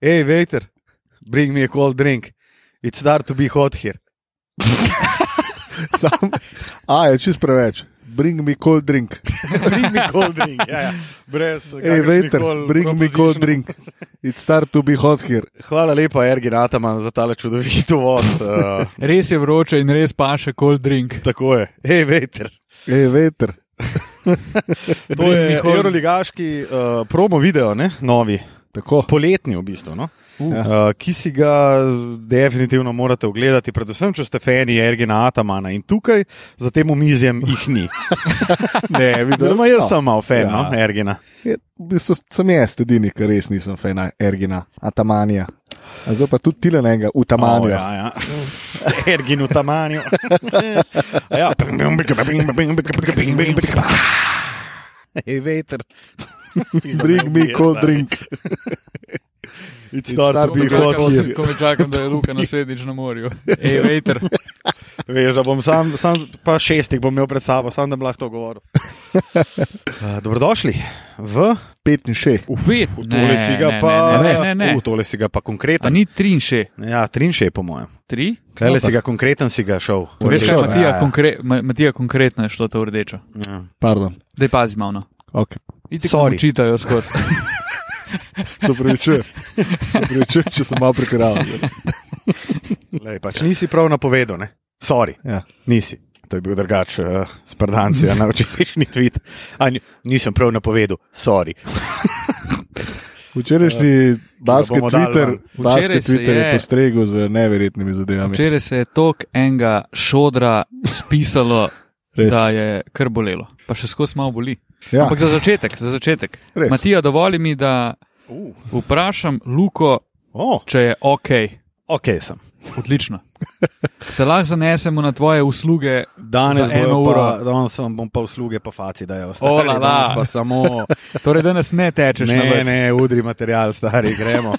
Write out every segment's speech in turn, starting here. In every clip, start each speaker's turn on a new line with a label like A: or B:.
A: Hej, waiter, bring me a cold drink. It's start to be hot here.
B: Sam, a je čist preveč. Bring me cold drink.
A: bring me cold drink. Ja, ja. Brez
B: Hej, waiter,
A: kakršnihkoli
B: bring me cold
A: propositionov.
B: drink. It start to be hot here.
A: Hvala lepa, Ergin Ataman, za tale čudovito vod. Uh,
C: Res je vroče in res paše cold drink.
A: tako je. Hej, waiter.
B: Hej, veter.
A: To je euroligaški uh, promo video, ne? novi,
B: Tako.
A: poletni v bistvu. No?
B: Ja.
A: Uh, ki si ga definitivno morate ogledati, predvsem če ste fani Ergina Atamana in tukaj za tem omizjem jih ni.
B: Ne, videl
A: Zelo jaz sem malo fan,
B: Ja.
A: ja. no, Ergina.
B: Je, v bistvu sem jaz edini, ker res nisem fan Ergina, Atamanija. A zdaj pa tudi tile enega, Utamanija.
A: O, ja, ja. Ergin v tamanju. ja. Ej, veter.
B: Bring me cold drink.
A: It's start to be
B: hot
A: hot
B: here.
A: here.
C: Ko me čakam, da je Luka naslednjič na morju. Ej, vejter.
A: Veš, da bom sam, sam, pa šestih bom imel pred sabo, sam da bom lahko to govoril. Uh, dobrodošli v
B: Pet in še.
C: Ufet.
A: tole si ga pa,
C: Ne, ne, ne.
A: Uh, tole si ga pa
C: A
A: konkreten.
C: ni tri in še.
A: Ja, trinše je po mojem.
C: Tri?
A: Klele si ga konkreten, si ga šel.
C: Veš, kaj
B: Odlično.
C: Matija,
B: Ja, ja.
C: konkre, Ma- Matija konkretno je šlo to v rdečo.
A: Ja.
B: Pardon.
C: Daj pazi malo.
B: Okay.
A: Sorry.
C: Čitajo skozi.
B: Se upravičujem, Se upravičujem, če sem malo prekraval.
A: Lej, pač nisi prav napovedal, ne? Sorry.
B: Ja.
A: Nisi. To je bil drugač, uh, sprdanci, na včerajšnji tweet. A, ni- nisem prav napovedal, sorry.
B: Včerajšnji basket
A: Torej, bomo dali
B: Twitter,
A: ven.
C: Včeraj
B: basket
C: se
B: Twitter je
C: je-
B: postregel z neverjetnimi zadevami.
C: Včeraj se je tok enega šodra spisalo,
B: Res.
C: da je kar bolelo. Pa še skozi malo boli.
B: Ja.
C: Ampak za začetek, za začetek.
B: Res.
C: Matija, dovoli mi, da
A: Uh.
C: vprašam Luko,
A: Oh,
C: če je ok.
A: ok, sem.
C: Odlično. Se lahko zanesemo na tvoje usluge.
A: Danes,
C: Za eno
A: bojo pa,
C: uro.
A: danes vam bom pa usluge, pa faci, da je ostalo.
C: Olala.
A: pa samo.
C: Torej, danes ne tečeš na
A: Ne,
C: vrh.
A: ne, udri material, stari, gremo.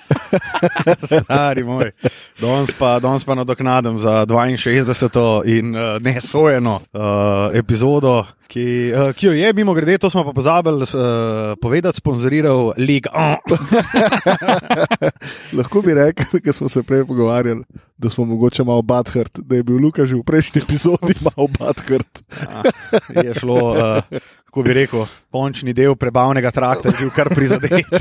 A: stari moj. Danes pa, danes pa nadoknadam za 62. in uh, nesojeno uh, epizodo, ki, uh, ki jo je, mimo grede, to smo pa pozabili uh, povedati, sponzoriral League. Uh,
B: Lahko bi rekel, ker smo se prej pogovarjali, da smo mogoče malo badhrt, da je bil Luka že v prejšnji epizodi malo badhrt.
A: Ja. je šlo, uh, kako bi rekel, končni del prebavnega trakta, ki je bil kar prizadet.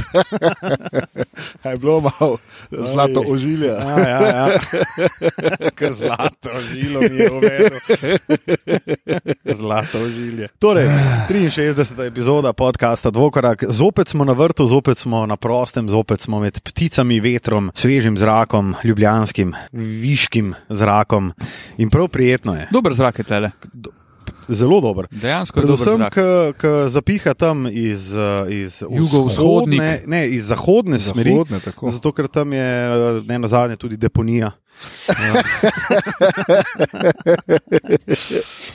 B: Je bilo malo zlato ožilje.
A: Ja, ja, ja. Ker zlato žilo mi je uvedel. Zlato žilje. Torej, 63. epizoda podcasta Dvokorak. Zopet smo na vrtu, zopet smo na prostem, zopet smo med pticami, vetrom, svežim zrakom, ljubljanskim, viškim zrakom. In prav prijetno je.
C: Dober zrak je tele.
A: Zelo dober.
C: Dejansko je dober
A: Predvsem,
C: zrak.
A: ki zapiha tam iz, eh, iz
C: Jugovzhodnik.
A: vzhodne- Ne, iz zahodne smeri.
B: Zahodne, tako.
A: Zato, ker tam je eh, ne na zadnje tudi deponija. Ja.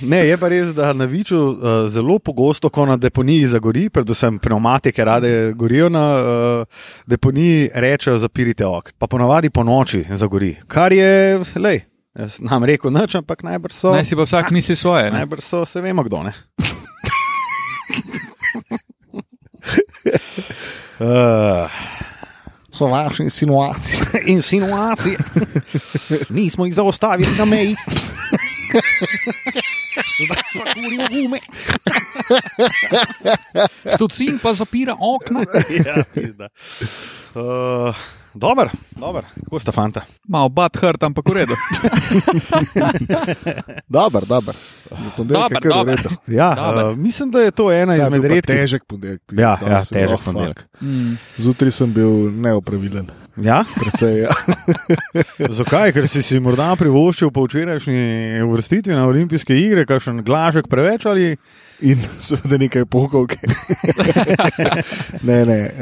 A: ne, je pa res, da na Viču eh, zelo pogosto, ko na deponiji zagori, predvsem pneumatike rade gorijo na eh, deponiji, rečejo: zapirite ok. Pa ponavadi po noči zagori, kar je, lej, jaz nam rekel, noč, ampak najbrž so.
C: Naj si pa vsak misli svoje. Ne?
A: Najbrž so, se vemo, kdo ne. Uh,
B: So vaše insinuacije.
A: insinuacije. Nismo jih zaustavili na meji. Zdaj pa kurimo gume.
C: Tucin pa zapira okna.
A: ja, pizda. uh, dober, dober, kako sta fanta?
C: Mal bat hrt, ampak v redu.
B: Dober, dober. Za ponedeljek je kar
C: Dober,
B: v
C: dober.
B: redu.
A: Ja,
C: Dober.
A: uh, mislim, da je to ena
B: Saj je
A: izmed
B: bil pa
A: redkih.
B: Težek ponedeljek.
A: Ja,
B: Danes
A: ja,
B: je bilo,
A: težek
B: fuck.
A: ponedeljek.
C: Mm.
B: Zjutraj sem bil neopravilen.
A: Ja?
B: Precej, ja.
A: Zakaj? Ker si si morda privoščil po včerajšnji uvrstitvi na olimpijske igre, kakšen glažek preveč ali
B: In seveda nekaj pokovke. ne, ne, eh,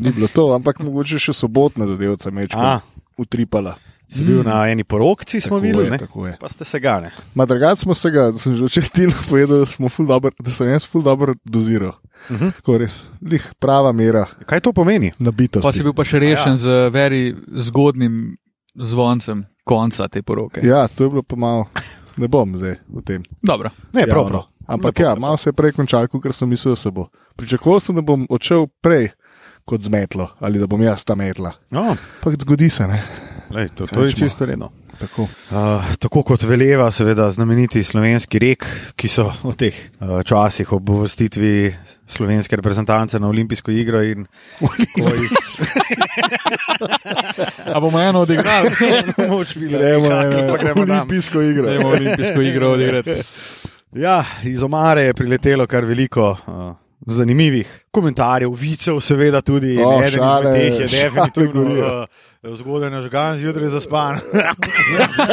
B: ni bilo to, ampak mogoče še sobotna zadevca mečka
A: A.
B: utripala.
A: si bil na eni porokci, smo
B: Tako
A: videli,
B: je,
A: ne?
B: tako je.
A: pa ste se gane.
B: Ma drugače smo se ga, sem že včeraj Tinu povedal, da, smo ful dobro- da sem jaz ful dobro doziral. Uh
A: Mhm.
B: -huh. Tako res, lih prava mera
A: Kaj to pomeni?
C: Pa
B: nabitosti.
C: si bil pa še rešen ja. z veri zgodnim zvoncem konca te poroke.
B: Ja, to je bilo pa malo, ne bom zdaj v tem.
C: Dobro.
A: no, Ne,
B: Javno.
A: prav, prav.
B: ja, Ampak ja, malo se je prej končal, kot sem mislil, da se bo. Pričakoval sem, da bom odšel prej, kot zmetlo ali da bom jaz ta metla.
A: No,
B: Ampak zgodi se, ne?
A: lej, to, to je
B: Rečemo.
A: čisto redno.
B: Tako.
A: Uh, tako kot veleva, seveda, znameniti slovenski rek, ki so v teh uh, časih ob uvrstitvi slovenske reprezentance na olimpijsko igro in ko jih
C: A bomo eno odigrali,
B: Gremo na
A: gremo tam.
B: olimpijsko igro.
C: da bomo olimpijsko igro odigrati.
A: Ja, iz omare je priletelo kar veliko uh, zanimivih komentarjev, vicev, seveda tudi.
B: O,
A: Oh, eden šale,
B: šale,
A: izmed teh je
B: šale
A: definitivno
B: gorijo.
A: uh, zgodaj nažgan, zjutraj zaspan.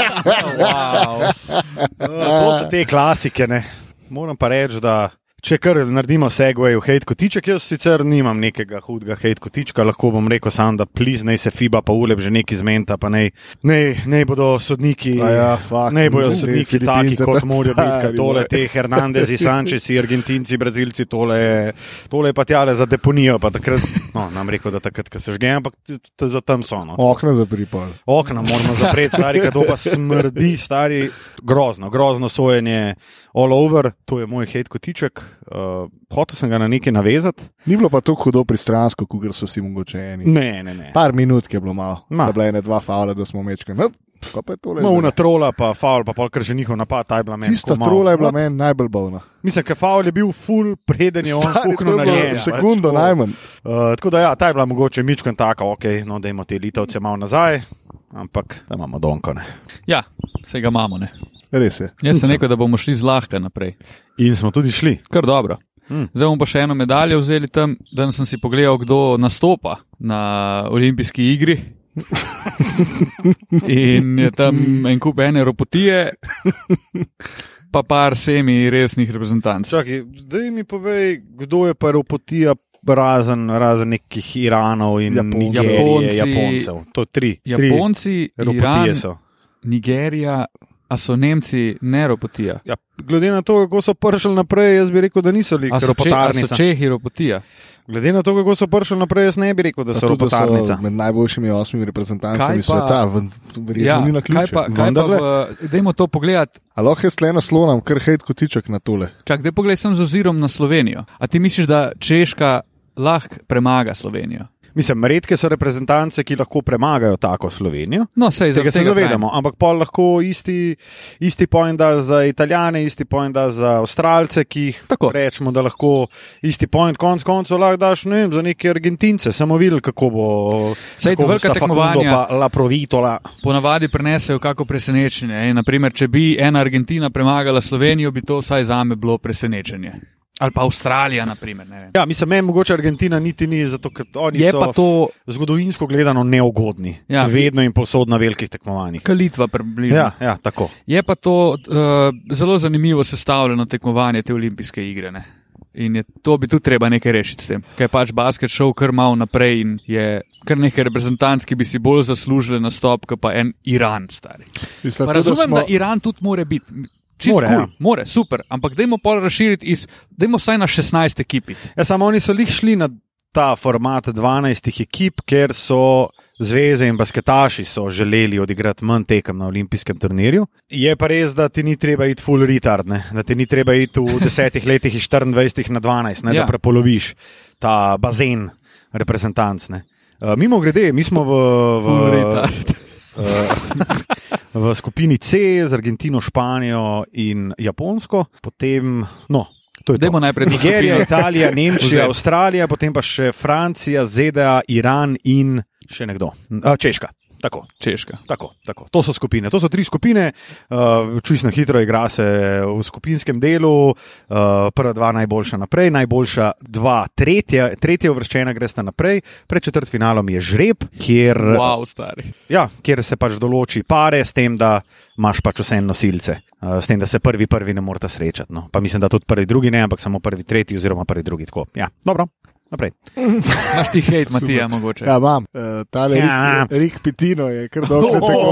C: Wow.
A: Uh, to so te klasike. Ne. Moram pa reči, da če kar naredimo segway v hate kotiček, jaz sicer nimam nekega hudega hate kotička, lahko bom rekel sam, da pliz naj se FIBA pa ulep že neki zmenta, pa naj, naj, naj bodo sodniki.
B: A ja, fak,
A: Ne bojo
B: te
A: sodniki taki,
B: Filipince
A: kot
B: tam
A: morajo biti, ker
B: stari,
A: tole,
B: moj.
A: te Hernandezi, Sančesi, Argentinci, Brazilci, tole, je- tole je pa tjale za deponijo. pa Takrat, no, nam rekel, da takrat, ko se žge, ampak t- t- za tam so. No.
B: Okna za pripol.
A: Okna moramo zapreti, stari, ker to pa smrdi, stari, grozno, grozno sojenje, all over, to je moj hate kotiček. Uh, hotel sem ga na nekaj navezati.
B: Ni bilo pa tako hudo pristransko, kot so si mogoče eni.
A: Ne, ne, ne.
B: Par minut je bilo malo,
A: Ma.
B: Ma. da bile ene dva faule, da smo mečkali. No, Kaj pa je tole?
A: No,
B: zdaj?
A: una trola, pa faul, pa polkar že njihov napad, ta je bila meni.
B: Tista
A: tako malo,
B: trola je bila
A: what?
B: meni najbolj bolna.
A: Mislim, ker faul je bil full, preden je on
B: Stari, to
A: fuknil
B: je
A: na
B: bilo
A: njega.
B: Sekundo
C: pač,
B: najmanj.
A: Uh, tako da, ja, ta je bila mogoče mičkan taka, ok, no, da imamo te litovce malo nazaj, ampak da imamo donkone.
C: Ja, vse ga imamo. Ne?
B: Res je.
C: Jaz sem rekel, da bomo šli zlahka naprej.
A: In smo tudi šli.
C: Kar dobro.
A: Mm.
C: Zdaj bomo pa še eno medaljo vzeli tam. Danes sem si pogledal, kdo nastopa na olimpijski igri. In je tam en kup ene robotije, pa par semi resnih reprezentanc.
A: Čakaj, daj mi povej, kdo je pa ropotija, razen, razen nekih Iranov in
B: Japonci.
A: Nigerije,
C: Japonci.
A: Japoncev. To je tri.
C: Japonci,
A: tri
C: Iran,
A: ropotije so.
C: Nigerija, a so Nemci ne robotija.
A: Ja, glede na to, kako so prišli naprej, jaz bi rekel, da niso bili
C: A so, če, a so
A: ropotarnica.
C: Čehi robotija.
A: Glede na to, kako so prišli naprej, jaz ne bi rekel, da
B: Pa
A: so
B: tudi, da so
A: ropotarnica.
B: Med najboljšimi osmimi reprezentancami
C: Kaj pa-
B: sveta, ven- verjetno
C: Ja,
B: ni na
C: kaj
B: ključu.
C: pa, kaj pa v, dajmo to pogledati.
B: Ali lahko jaz le naslonam, ker hejt kotiček na tole.
C: Čak, da pogledaj sem z ozirom na Slovenijo. A ti misliš, da Češka lahko premaga Slovenijo?
A: Mislim, redke so reprezentance, ki lahko premagajo tako Slovenijo.
C: No, sej,
A: Tega
C: zaradi
A: se
C: tega
A: zavedamo, ampak pa lahko isti, isti point da za Italijane, isti point da za Avstralce, ki jih
C: Tako.
A: rečemo, da lahko isti point konc koncev lahko daš ne vem, za neke Argentince, samo videl, kako bo.
C: Saj
A: kako bo
C: velika
A: sta Facundo
C: tekmovanja-
A: Pa La Provitola.
C: pravi. Ponavadi prenesejo kako presenečenje. Ej, naprimer, če bi ena Argentina premagala Slovenijo, bi to vsaj za me bilo presenečenje. Ali pa Avstralija, naprimer. ne vem.
A: Ja, mislim, meni mogoče Argentina niti ni, zato ker oni
C: Je
A: so
C: pa to
A: zgodovinsko gledano neugodni.
C: Ja.
A: Vedno in povsod na velikih tekmovanjih.
C: Kalitva približno.
A: Ja, ja, tako.
C: Je pa to uh, zelo zanimivo sestavljeno tekmovanje te olimpijske igre. Ne? In je, to bi tudi treba nekaj rešiti s tem. Ker je pač basket šel kar malo naprej in je kar nekaj reprezentanc, ki bi si bolj zaslužili nastop, kot pa en Iran stari.
B: Mislim, to, da
C: Pa razumem,
B: smo-
C: da Iran tudi more biti. Čisto
A: More,
C: more,
A: ja.
C: cool, more, super, ampak dajmo pol razširiti iz, dajmo vsaj na 16 ekipi.
A: Ja, samo oni so lih šli na ta format 12 ekip, ker so zveze in basketaši so želeli odigrati manj tekem na olimpijskem turnirju. Je pa res, da ti ni treba iti full retard, ne? da ti ni treba iti v desetih letih iz 24 na 12, ne? ja.
C: Ja.
A: da prepoloviš ta bazen reprezentanc. Ne? Uh, mimo grede, mi smo v, v,
C: Full retard.
A: eh, v skupini C z Argentino, Španijo in Japonsko, potem no. To je to.
C: Dajmo najprej to
A: Nigerija,
C: skupino.
A: Italija, Nemčija,
C: Vzeti.
A: Avstralija, potem pa še Francija, ZDA, Iran in še nekdo. A, Češka. Tako,
C: Češka.
A: tako, tako. To so skupine. To so tri skupine, uh, čujno hitro igra se v skupinskem delu, uh, prva dva najboljša naprej, najboljša dva, tretja, tretja uvrščena gresta naprej. Pred četrtfinalom je žreb, kjer
C: Wow, stari.
A: Ja, kjer se pač določi pare, s tem, da imaš pač vse nosilce, Eh, s tem, da se prvi, prvi ne morete srečati. No. Pa mislim, da tudi prvi, drugi ne, ampak samo prvi, tretji, oziroma prvi, drugi. Tako. Ja, dobro, naprej.
C: Imaš ti hate, Matija, mogoče.
B: Ja, imam. Uh, tale
A: Ja.
B: ja. Rik, Rik Pitino je kar dolgo tako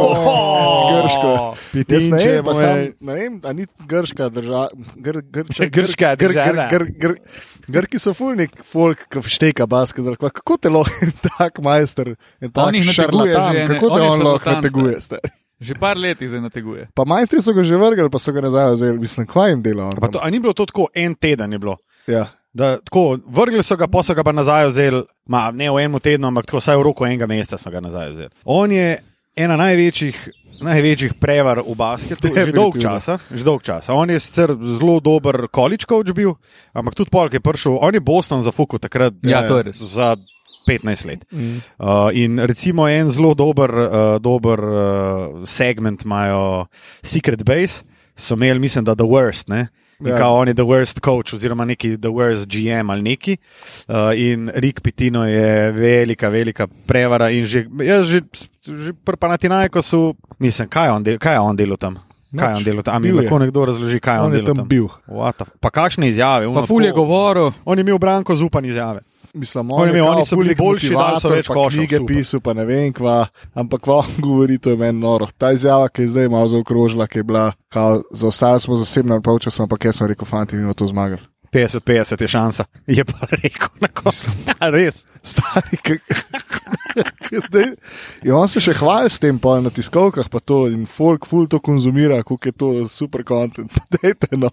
B: grško. Jaz ne
A: Pitinče
B: vem, pa
A: moje.
B: sam, ne vem, a ni grška država. Gr, grča-
A: Grška
B: gr- gr-
A: država.
B: gr- gr- Grki so fulnik, folk, ki šteka baske. Kako te lahko en tak majster, en
C: On
B: tak
C: jih nateguje že
B: šarlatan,
C: ene-
B: kako
C: on
B: te
C: je
B: on lahko
C: šarlatan,
B: nateguje? stari?
C: Že par let jih zdaj nateguje.
B: Pa majstri so ga že vrgli, pa so ga nazaj vzeli. Mislim, kva jim dela on?
A: Pa to, a ni bilo to tako, en teden je bilo.
B: Ja.
A: Da, tako, vrgli so ga, pa so ga pa nazaj vzeli, ma, ne v enem tednu, ampak tako vsaj v roku enega meseca so ga nazaj vzeli. On je ena največjih. Največjih prevar v basketu, že dolg,
B: Definitivno.
A: časa, že dolg časa. On je sicer zelo dober college coach bil, ampak tudi polk je prišel, on je Boston zafukal takrat eh,
C: Ja, to je res.
A: za 15 let.
B: Mm.
A: Uh, in recimo en zelo dober, uh, dober uh, segment imajo Secret Base, so imeli, mislim, da The Worst. Ne? In
B: Ja.
A: ja. kao on je The Worst Coach, oziroma neki The Worst GM ali neki. Uh, in Rick Pitino je velika, velika prevara. In že, jaz že, že pri Panatinajkosu, mislim, kaj je on, del, kaj je on delo tam? Kaj je on
B: Nič.
A: delo tam? A Mi
B: Bil je.
A: lahko nekdo razloži, kaj je on,
B: On je
A: delo
B: tam bil.
A: What the- Pa kakšne izjave?
C: Pa
A: Ono
C: ful je
A: tako-
C: govoril.
A: On je imel branko zupanje izjave.
B: Mislim,
A: On
B: on
A: je
B: je
A: imel-
B: kao
A: oni so bili
B: publik
A: boljši, dali so
B: motivator,
A: več
B: pa
A: košev,
B: Knjige
A: super.
B: pisal, pa ne vem kva, ampak vam govori, to je meni noro. Ta izjava, ki je zdaj malo zaokrožila, ki je bila, kao, zaostajali smo za 7 polčasa, ampak jaz sem rekel, fanti, mi bomo to zmagali.
A: 50-50 je šansa. Je pa rekel na koncu. Ja, res.
B: Stari, ki. In on se še hvali s tem, pa na tiskovkah, pa to in folk ful to konzumira, kako je to super kontent. Dajte no.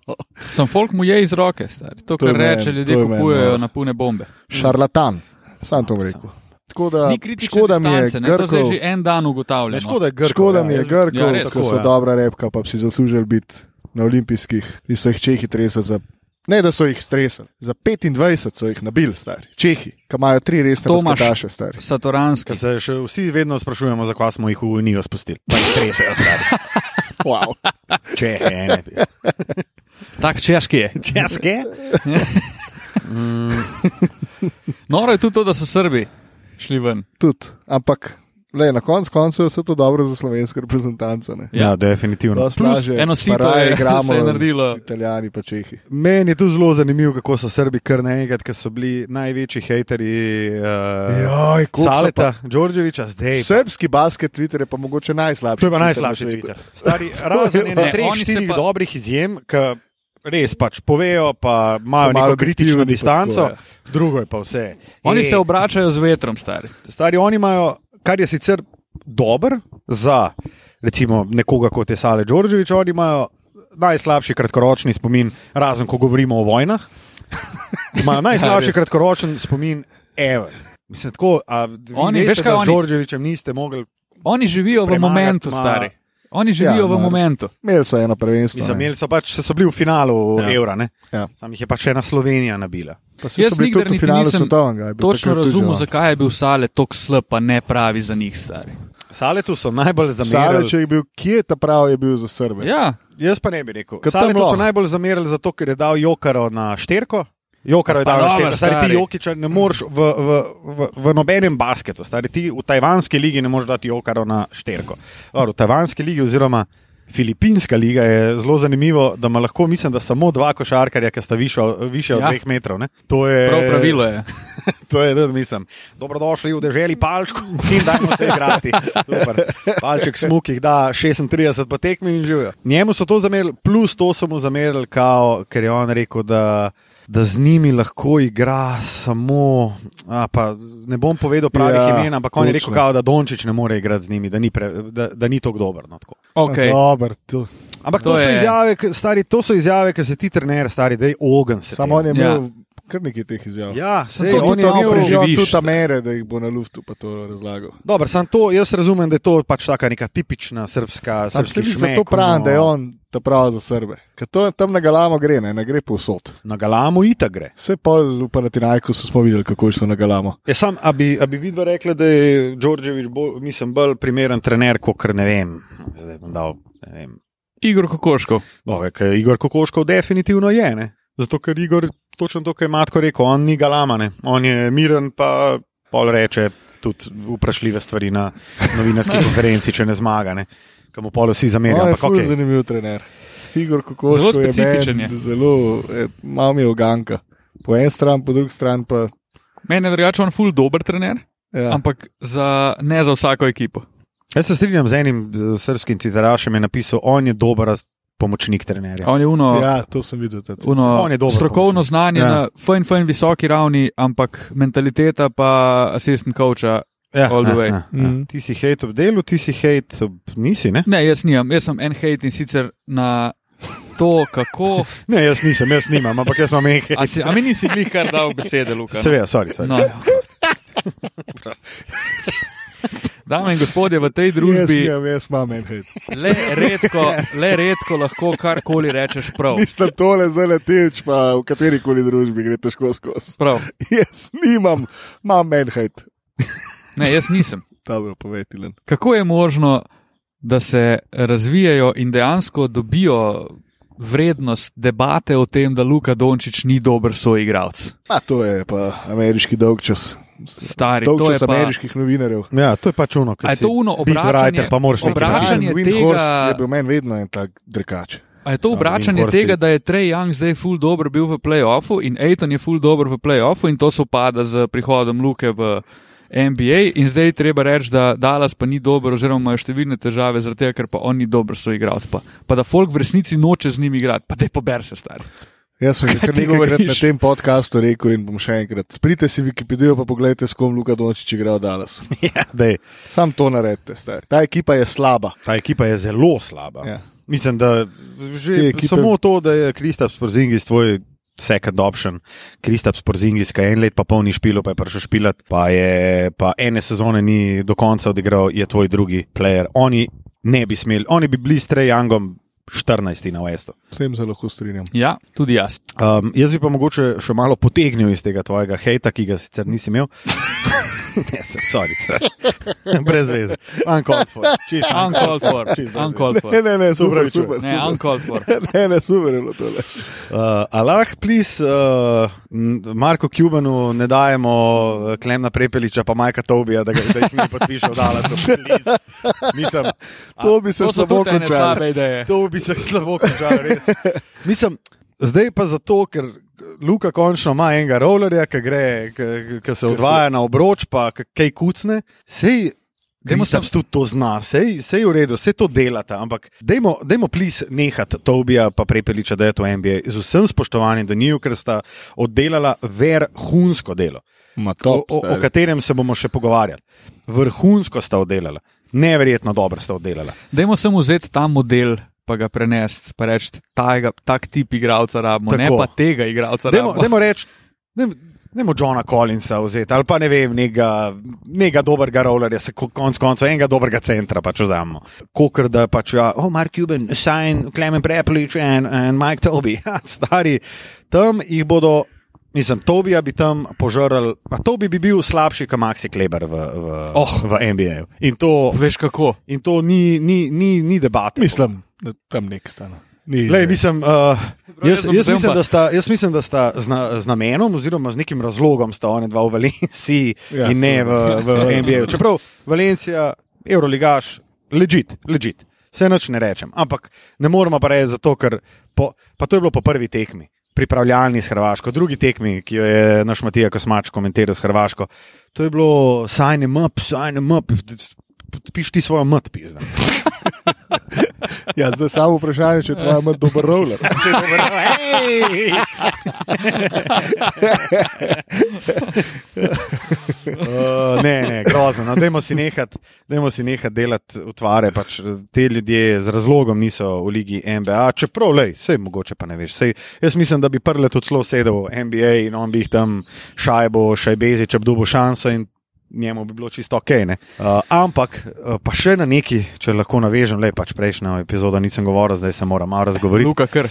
C: Sam folk mu je iz roke, stari. to,
B: To je
C: kar
B: meni, to
C: reče, ljudje
B: je meni,
C: kupujejo
B: no.
C: na pune bombe.
B: Šarlatan, sam to bom rekel. Tako da,
C: Ni kritične
B: škoda mi je,
C: distance, ne, to zdaj
B: Grkov,
C: že en dan ugotavljamo.
A: Ne, škoda je grko.
B: škoda mi je
C: Ja,
B: Grkov,
C: res,
B: tako so
A: ja.
B: dobra repka, pa bi si zaslužili biti na olimpijskih in so jih Čehi tresali za. Ne, da so jih stresali. Za 25 so jih nabili, stari. Čehi, ki imajo tri resne
C: Tomaš.
B: košarkaše, stari.
C: Satoranski.
A: Ker se še vsi vedno sprašujemo, zakaj smo jih v Unijo spustili. Pa jih tresejo, stari.
B: Wow.
A: Če je ene.
C: Tak češki je.
A: Česke?
C: Noro No, je tudi to, da so Srbi šli ven.
B: Tudi, ampak le, na koncu koncev je vse to dobro za slovensko reprezentanco. ne.
A: Ja, definitivno.
B: Dosti
C: Plus
B: lažje,
C: eno sito
B: pa raje
C: je-
B: igramo
C: se je naredilo.
B: z Italijani pa Čehi.
A: Meni je tu zelo zanimivo, kako so Srbi kar naenkrat, ker so bili največji hejteri uh,
B: Joj,
A: Saleta, Đorđeviča, zdaj. pa-
B: Srpski basket Twitter je pa mogoče najslabši.
A: To je pa
B: Twitter na
A: najslabši
B: svetu.
A: Twitter. Stari, razen ene
C: Ne,
A: treh,
C: oni se
A: štirih
C: pa-
A: pa... dobrih izjem, ki res pač povejo, pa imajo
B: So malo
A: neko kritično
B: objektivni pa
A: distanco,
B: tako,
A: drugo je pa vse.
C: Oni
B: E.
A: Ej,
C: se obračajo z vetrom, stari.
A: Stari oni imajo, kar je sicer dober za recimo, nekoga kot je Sale Đorđevič, oni imajo najslabši kratkoročni spomin, razen ko govorimo o vojnah. Imajo najslabši
C: Ja, res.
A: kratkoročen spomin, ever. Mislim, tako, a,
C: Oni-
A: oni, veste,
C: veš,
A: veš,
C: kaj
A: kaj
C: oni-
A: z Đorđevičem niste mogli.
C: Oni živijo v
A: Premagati
C: momentu,
A: ma-
C: stari. Oni živijo
B: Ja,
C: v
B: mar.
C: momentu.
B: Imeli so eno prvenstvo.
A: Mislim,
B: ne.
A: imeli so pač, so bili v finalu
B: Ja.
A: ja. evra, ne?
B: Ja.
A: Sam jih je pač ena Slovenija nabila.
B: Pa saj
C: Jaz
B: so bili
C: nikdar
B: tudi v
C: niti
B: finalu
C: nisem
B: svetovnega. je bil
C: Točno
B: takrat tudi
C: razumem,
B: že, no.
C: zakaj je bil Sale tako slab, pa ne pravi za njih, stari.
A: Saletu so najbolj zamerili.
B: Sale, če je bil, kje je ta prav, je bil za Srbe.
C: Ja,
A: Jaz pa ne bi rekel.
B: Ker
A: Sale
B: tam
A: to so
B: lahko.
A: najbolj zamerili, zato ker je dal Jokaro na šterko. Jokaro je
C: Pa
A: dal na
C: dobro,
A: šterko. Stari ti
C: stari.
A: Jokiča ne moreš v, v, v, v nobenem basketu, stari ti v tajvanski ligi ne moreš dati Jokaro na šterko. Or, v tajvanski ligi oziroma Filipinska liga je zelo zanimivo, da ima lahko, mislim, da samo dva košarkarja, ki sta više, više od
C: Ja.
A: ja. dveh metrov. Ne? To je
B: E.
C: prav pravilo je.
A: To je tudi, mislim. Dobrodošli v deželi palčku in dajmo se igrati. Super. Palček smuk jih da 36 po tekmi in živijo. Njemu so to zamerili, plus to so mu zamerili, kao, ker je on rekel, da, da z njimi lahko igra samo. A, pa, ne bom povedal pravih
B: Ja,
A: ja, imen, ampak on je rekel,
B: točno.
A: kao, da Dončić ne more igrati z njimi, da ni, pre, da, da ni tako dober. No, tako.
C: Okay.
B: Dobar, Ja, to.
A: Ampak
C: To
A: to, to, so
C: je-
A: izjave, k- stari, to so izjave, ki se ti trener, stari, da je ogen. se
B: Samo on je
A: temu.
B: imel kar nekaj teh izjav.
A: Ja, sej,
C: ja. to
A: on
C: tudi
A: je
C: malo
A: imel
B: preživel
C: preživel. preživiš,
B: tudi
C: da.
B: Amere, da jih bo na luftu pa to razlagal.
A: Dobro, samo to, jaz razumem, da je to pač taka neka tipična srpska no.
B: Sam
A: srpska
B: slišim, da to pravi, da
C: no.
B: je on ta pravi za Srbe. Ker to tam na Galamo gre, ne, ne gre povsod.
A: Na Galamu ita gre.
B: Vse pol v Panatinajku smo videli, kako je šlo na Galamo.
A: Je Ja, sam, a bi, a bi vidva rekla, da je Đorđević bolj, mislim, bolj primeren trener, kot kar ne vem. Zdaj bom dal, ne vem.
C: Igor Kokoškov.
A: No, ker Igor Kokoškov definitivno je, ne? Zato, ker Igor, točno to, kar je Matko rekel, on ni Galama, ne? On je miren, pa pol reče tudi vprašljive stvari na novinarski konferenci, če ne zmaga, ne? Kamu pol vsi zamerijo,
B: On je
A: ampak
B: ful
A: ok.
B: zanimiv trener. Igor Kokoško
C: Ja, Zelo specifičen
B: je.
C: je.
B: meni Zelo, eh, malo mi je oganka. Po eni strani, po drugi strani pa.
C: Meni je drugače on ful dober trener,
B: Ja.
C: ampak za, ne za vsako ekipo.
A: Jaz se strinjam z enim eh, srpskim citarašem, je napisal, on je dober as- pomočnik trenerja.
C: On je uno, ja.
B: ja, to sem videl. ta cel-
C: uno
A: On je dober
C: strokovno
A: pomočnik.
C: znanje ja.
A: Ja.
C: na fajn, fajn visoki ravni, ampak mentaliteta pa asistent coacha.
A: Ja,
C: all the way. Mm.
A: Ja, ja, ja.
B: Mhm.
A: Ti si hejt ob delu, ti si hejt ob nisi, ne?
C: Ne, jaz nimam, jaz sem en hate in sicer na to, kako.
A: Ne, jaz nisem, jaz nimam, ampak jaz imam nekaj.
C: A, si, a mi nisi jih kar dal besede, Luka?
A: Seveda, sorry, sorry.
C: No, ja. Dame in gospodje, v tej družbi
B: Jaz, imam- jaz imam en hit.
C: le redko, le redko lahko karkoli rečeš prav.
B: Mislim, tole zdaj letič, pa v kateri koli družbi gre težko skozi.
C: prav.
B: Jaz nimam, imam en hit.
C: Ne, jaz nisem.
B: Dobro, povedi le.
C: Kako je možno, da se razvijajo in dejansko dobijo vrednost debate o tem, da Luka Dončić ni dober soigralec?
B: A to je pa ameriški dolgčas.
C: Stari, to je
B: Dolgčas
C: pa.
B: ameriških novinarjev.
A: Ja, to je pač ono,
C: A
A: kar
C: je
A: si.
C: to uno
A: beatwriter,
C: obračanje,
A: pa moraš nekaj
C: obračanje
B: Brian Windhorst je
C: tega,
B: bil meni vedno en tak drkač.
C: a je to
A: Ja,
C: obračanje
A: Winhorst je-
C: tega, da je Trey Young zdaj full dobro bil v playoffu in Aiton je full dobro v playoffu in to se upada z prihodom Luke v NBA in zdaj je treba reči, da Dallas pa ni dober oziroma imajo številne težave zaradi tega, ker pa on ni dober soigralec. Pa, pa da folk v resnici noče z njimi igrati, pa te pober se star.
B: Jaz sem že kar
C: ti
B: nekajkrat na
C: govoriš?
B: tem podkastu rekel in bom še enkrat. Pridite si Wikipedijo pa pogledajte, s kom Luka Dončić igra od Dallas.
A: Ja, dej.
B: Sam to naredite, stari. Ta ekipa je slaba.
A: Ta ekipa je zelo slaba.
B: Ja.
A: Mislim, da že
B: Te
A: ekipe...
B: ekipe-
A: samo to, da je Kristaps Porzingis tvoj second option, Kristaps Porzingis, ki je en let pa polni špilo, pa je prišel špilat, pa, je, pa ene sezone ni do konca odigral, je tvoj drugi player. Oni ne bi smeli, oni bi bili s Trejangom 14 na Westu.
B: S tem se lahko strinjam.
C: Ja, tudi jaz.
A: Um, jaz bi pa mogoče še malo potegnil iz tega tvojega hejta, ki ga sicer nisi imel. ne, se- sorry, sorry. Brez veze. Uncalled for. Čisto
C: Uncalled for.
A: Čisto.
C: Uncalled for.
B: Ne, ne, ne, super,
A: Opravičujem.
B: super.
C: Ne,
B: super.
C: uncalled for.
B: Ne, ne, super je bilo tole.
A: Uh, Allah, plis, uh, n- Marko Cubanu ne dajemo eh, Klemna Prepeliča, pa Majka Tobija, da, ga, da jih ne podpišemo, da so bili. Mislim,
B: To bi se
C: To so
B: slabo
C: tudi ene
B: končalo.
C: slabe ideje.
A: to bi se slabo končalo, res. Mislim, zdaj pa zato, ker Luka končno ima enega rollerja, ki gre, ki- ki se odvaja na obroč, pa k- kaj kucne. Sej,
C: Dajmo
A: Dajmo se tudi to zna, sej, sej v redu, vse to delate, ampak dajmo, dajmo plis nehati Tobija pa prepeliča, da je to NBA. Z vsem spoštovanjem do njiju, ker sta oddelala verhunsko delo,
B: Ma
A: o, o, o katerem se bomo še pogovarjali. Vrhunsko sta oddelala, neverjetno dobro sta oddelala.
C: Dajmo samo vzeti ta model, pa ga prenesti, pa reči, "Tajega- tak tip igralca rabimo, Tako. ne
A: Tako.
C: pa tega igralca
A: Dajmo,
C: rabimo.
A: dajmo reči, dajmo- dajmo Johna Collinsa vzeti ali pa ne vem, nekega, nekega dobrega rollerja, se ko- konc koncev enega dobrega centra pač vzamemo. Kokr da pač, ja, oh, Mark Cuban, Sign, Klemen Preplič in Mike Toby, ja, stari, tam jih bodo. Mislim, Tobija bi tam požrl, pa Tobi bi bil slabši, kot Maxi Kleber v, v,
C: Oh.
A: v NBA. In to,
C: Veš kako?
A: in to ni, ni, ni, ni debate.
B: Mislim, da tam nek stane. Ni,
A: Lej, mislim, uh, jaz,
C: jaz bom
A: jaz,
C: zdaj
A: mislim,
C: pa-
A: da sta, jaz mislim, da sta z, na, z namenom oziroma z nekim razlogom sta one dva v Valenciji
B: Ja,
A: ja, in ne v,
B: seveda.
A: v NBA. Čeprav Valencija, Euroligaš, ležit, ležit. Vse noč ne rečem, ampak ne moramo pa reči zato, ker po, pa to je bilo po prvi tekmi, pripravljalni s Hrvaško, drugi tekmi, ki jo je naš Matija Kosmač komentiral s Hrvaško. To je bilo sign em up, sign em up, piš ti svojo mat, pizda.
B: Ja, zdaj samo vprašanje, če je tvoja ima dober roller.
A: Uh, ne, ne, grozno. No, dajmo si nehati nehat delati utvare. Pač, te ljudje z razlogom niso v ligi NBA, čeprav le, vse mogoče pa ne veš. Sej, jaz mislim, da bi prle tudi zelo sedel v NBA in on bi jih tam šajbo, šajbezi, če bi dobil šanso in njemu bi bilo čisto ok. ne. Uh, ampak uh, pa še na neki, če lahko navežem, le pač prejšnjo epizodo nisem govoril, zdaj se moram malo razgovoriti.
C: Luka kr.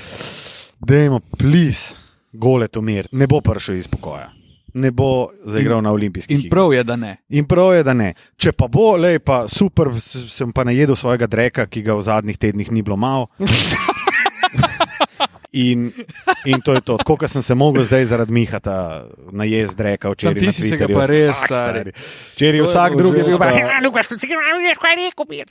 A: Dajmo, plis, gole to mir. Ne bo prišel iz pokoja. Ne bo zaigral in, na olimpijskih.
C: In prav je, da ne.
A: In prav je, da ne. Če pa bo, lej pa super, s- sem pa najedel svojega dreka, ki ga v zadnjih tednih ni bilo malo. In, in to je to, tako kot sem se mogel zdaj zaradi Mihata najezd reka
C: Sam
A: včeraj.
C: ti
A: na
C: si se ga
A: Twitterju.
C: pa res,
A: Fak,
C: stari.
A: Včeraj je vsak drugi je bil pa.
B: Pa-
D: Ah, Lucas, conseguiu, Lucas, qual é, copia?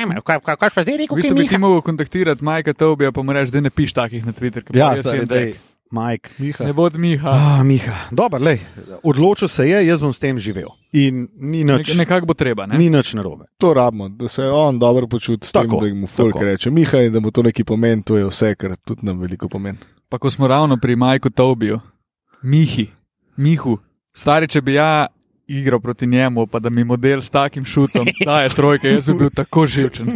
D: É, mas qual, qual, qual fazer e
C: V bistvu
D: copia,
C: bi ti mogel kontaktirati Majka Tobija, pa mu reči, da ne piš takih na Twitter. ker pa
A: Ja,
C: res
A: stari,
C: en
A: daj,
C: tek.
A: Mike.
B: Miha,
C: Ne bo od Miha.
A: Ah, Miha, dober, lej, odločil se je, jaz bom s tem živel. In ni nič,
C: Nek, nekako bo treba, ne?
A: ni nič narobe.
B: to rabimo, da se on dobro počuti s
A: Tako,
B: tem, da mu folk
A: tako.
B: reče. Miha in da mu to neki pomeni, to je vse, kar tudi nam veliko pomeni.
C: Pa ko smo ravno pri Majku Tobiju, Mihi, Mihu, stari, če bi ja igral proti njemu, pa da mi model s takim šutom daje trojke, jaz bi bil tako živčen.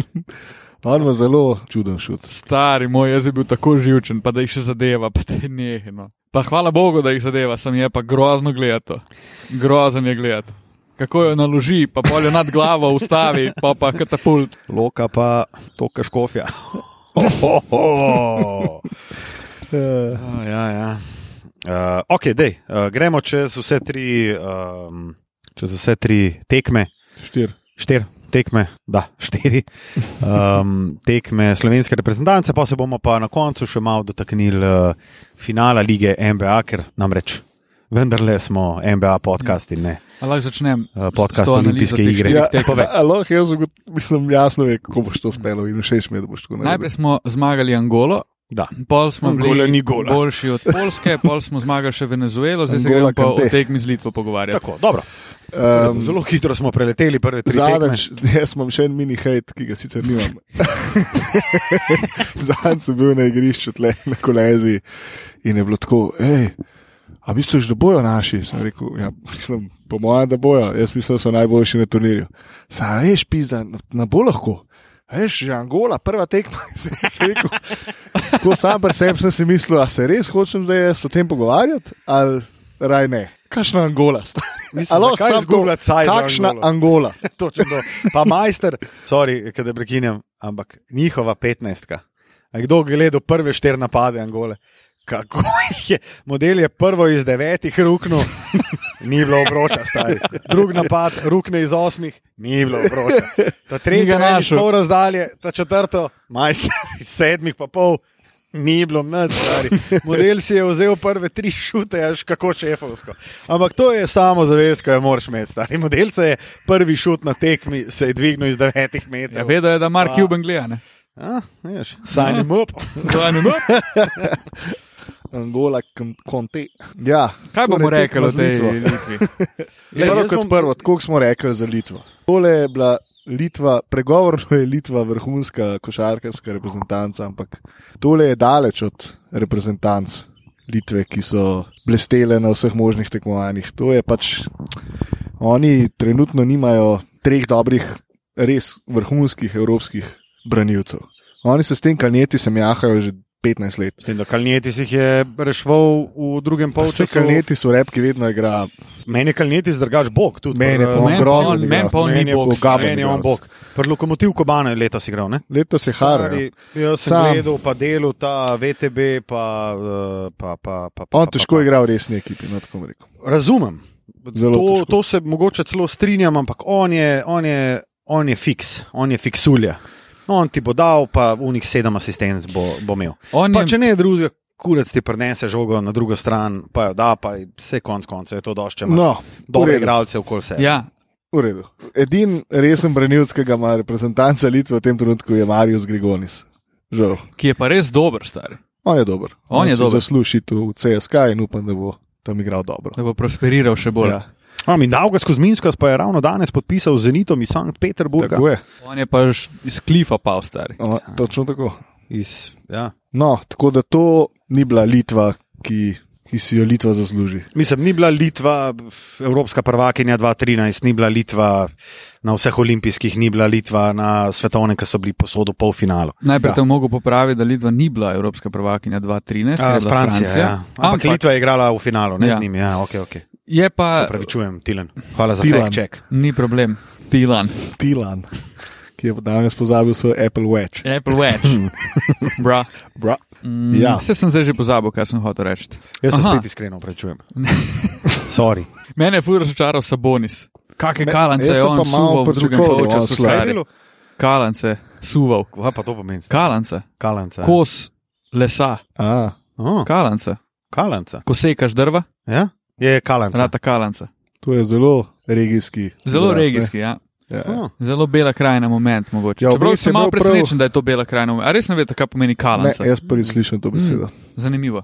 B: On ima zelo čuden šut.
C: Stari moj, jaz bi bil tako živčen, pa da jih še zadeva, pa da je nehno. Pa hvala Bogu, da jih zadeva, sem je pa grozno gledati. Grozen je gledati. Kako jo naloži, pa polje nad glavo ustavi, pa pa katapult.
A: Loka pa toka škofja. Ohoho.
B: Eh,
A: Ah, ja, ja. Uh, ok, dej, uh, gremo čez vse tri, um, čez vse tri tekme,
B: Štir.
A: štiri tekme, da, štiri um, tekme slovenske reprezentance, pa se bomo pa na koncu še malo dotaknili uh, finala lige NBA, ker namreč vendarle smo NBA podcast in ne.
C: A lahko začnem.
A: Eh,
C: s-
A: podcast
C: s to analizo
A: olimpijske
C: teh
A: igre.
C: štirih
A: Ja.
C: tekem.
A: Povej.
B: Aloh, jaz ugot, mislim, jasno ve, kako boš to spelo in všeč mi je, da boš tako
C: Najprej smo zmagali Angolo,
A: Da.
C: pol smo
A: Angola ni
C: bili
A: gola.
C: boljši od Polske, pol smo zmagali še Venezuelo, zdaj se
B: Angola
C: gremo pa o
B: Kante.
C: tekmi z Litvo pogovarjati.
A: Tako, dobro. Um, Zelo hitro smo preleteli prve tri tekme.
B: Zadnjič, jaz imam še en mini hate, ki ga sicer nimam. Zadnjič sem bil na igrišču tle na kolezi in je bilo tako, hej, a misliš, da bojo naši? Sem rekel, ja, mislim, po mojem, da bojo, jaz mislim, da so najboljši na turnirju. Sam veš, pizda, ne bo lahko. Veš, že Angola, prva tekma, se je rekel. Ko sam pri sebi sem si mislil, a se res hočem zdaj jaz o tem pogovarjati, ali raj ne. Kakšna Angola?
A: Mislim, zakaj izgubljati cajt za
B: Kakšna
A: Angolo?
B: Angola?
A: Točno to. Pa majster, sorry, da prekinjam, ampak njihova petnajstka. A Kdo je gledal prve štiri napade Angole? Kako jih je? Model je prvo iz devetih ruknil, ni bilo obroča, stari. Drug napad, rukne iz osmih, ni bilo obroča. Ta
C: Ni ga
A: tretja je
C: našel.
A: šlo razdalje, ta četrto, majster iz sedmih pa pol. Ni bilo mnenja, stari. Model si je vzel prve tri šute, až kako šefovsko. Ampak to je samo zavez, ki jo moraš imeti, stari. Model se je prvi šut na tekmi, se je dvignil iz devetih metrov.
C: Ja, vedo je, da Mark
A: Pa-
C: Cuban gleda. ne.
A: Ah, veš, sign him up.
C: no,
B: Angola, Kon- Conte. Ja,
C: Kaj bomo
B: torej
C: rekli
B: tekma
C: o
B: z
C: tej
B: Litvo.
C: Litvi?
A: Lej,
B: Prvo
A: jaz
B: kot
A: bom-
B: prvo, tako kot smo rekli za Litvo. Tole je bila Litva, pregovorno je Litva vrhunska košarkarska reprezentanca, ampak tole je daleč od reprezentanc Litve, ki so blestele na vseh možnih tekmovanjih. To je pač, oni trenutno nimajo treh dobrih, res vrhunskih evropskih branilcev. Oni se s tem kalneti sem jahajo že 15 let.
A: S tem, da Kalneti si jih je reševal v drugem
B: Vse
A: polčasu.
B: kalneti so repki, vedno igra
A: Meni je Kalneti zdrgaš bog. tudi
B: Meni
A: pri-
B: je pa on
C: Meni pa
B: grozen
C: on-
B: igralec.
C: meni pa on ni
A: Meni je
C: bog,
A: bog,
B: pogaben
A: meni je on
B: igralec.
A: bog. Pri lokomotiv Kobana je leta si igral, ne?
B: Letos je Harry.
A: Stari, Jaz sem
B: ja. Sam.
A: Sam. gledal, pa delal ta VTB, pa. eh, pa, pa, pa, pa
B: On
A: pa, pa.
B: težko igra v resni ekipi, no tako bom rekel.
A: Razumem.
B: Zelo
A: To,
B: težko.
A: to se mogoče celo strinjam, ampak on je, on je, on je fiks, on je fiksulja. No, on ti bo dal, pa v njih sedem asistenc bo, bo imel.
C: On
A: Pa,
C: je,
A: če ne drugega, kurec ti prenese žogo na drugo stran, pa jo da, pa je- vse konc koncev je to došče.
B: No, v
A: Dobre
B: redu.
A: igralce okoli sebe.
C: ja,
B: V redu. Edini resen branilec, ki ga ima reprezentanca Litve v tem trenutku, je Marius Grigonis. Žal.
C: ki je pa res dober, star,
B: On je dober.
C: On je
B: si
C: dober.
B: Zasluži tu v CSK in upam, da bo tam igral dobro.
C: da bo prosperiral še bolj. Ja.
A: No, in dal ga skozi Minsko, pa je ravno danes podpisal z Zenitom iz Sankt Peterburga.
B: Ja, tako je.
C: On je pa š- iz klifa pa star.
B: O, točno tako.
A: Iz, ja.
B: No, tako da to ni bila Litva, ki, ki si jo Litva zasluži.
A: Mislim, ni bila Litva, f, evropska prvakinja 2013, ni bila Litva na vseh olimpijskih, ni bila Litva na svetovnem, ki so bili posodo polfinalu.
B: Ja.
C: Najprej ja. te mogo popraviti, da Litva ni bila evropska prvakinja 2013, ker je
A: Z
C: bila
A: Francijo. Ja. Ampak, Ampak
C: Ampak
A: Litva je igrala v finalu, ne ja.
C: Ja.
A: z njimi. Ja, okay, okay.
C: je
A: Se
C: pa,
A: pravičujem, Tilen. Hvala za
B: Tilan.
A: fact check.
C: ni problem, Tilan,
B: Tilan, ki je danes pozabil svoj Apple Watch.
C: Apple Watch. Bra.
B: Bra.
C: Mm,
B: Ja.
C: Vse sem zdaj že pozabil, kaj sem hotel reči.
A: Jaz se
C: Aha.
A: spet iskreno pravičujem. Sorry.
C: Mene je fur razočaral Sabonis. Kakšne
B: Me-
C: kalance
B: jaz
C: je
B: sem
C: on
B: pa malo
C: suval v drugem
B: pričakoval, da bo
C: polčasu,
B: slab.
C: stari. Kalance, suval,
A: Kaj pa to pomeni?
C: kalance,
A: Kalanca. ja.
C: kos lesa,
B: A,
A: Oh,
C: kalance.
A: kalanca.
C: Ko sekaš drva,
A: Ja? Je kalanca.
C: rata kalance.
B: to je zelo regijski.
C: Zelo
B: izraz, ne?
C: regijski, ja.
B: Ja.
A: Oh.
C: Zelo bela krajina moment, mogoče.
B: Ja,
C: Ja,
B: v
C: Čeprav
B: bistvu je
C: sem malo
B: imel prav.
C: presenečen, prav... da je to bela krajina moment. A res ne veste, kaj pomeni
B: Ne, ja.
C: kalanca?
B: jaz prvi slišim to
C: Mm.
B: besedo.
C: Zanimivo.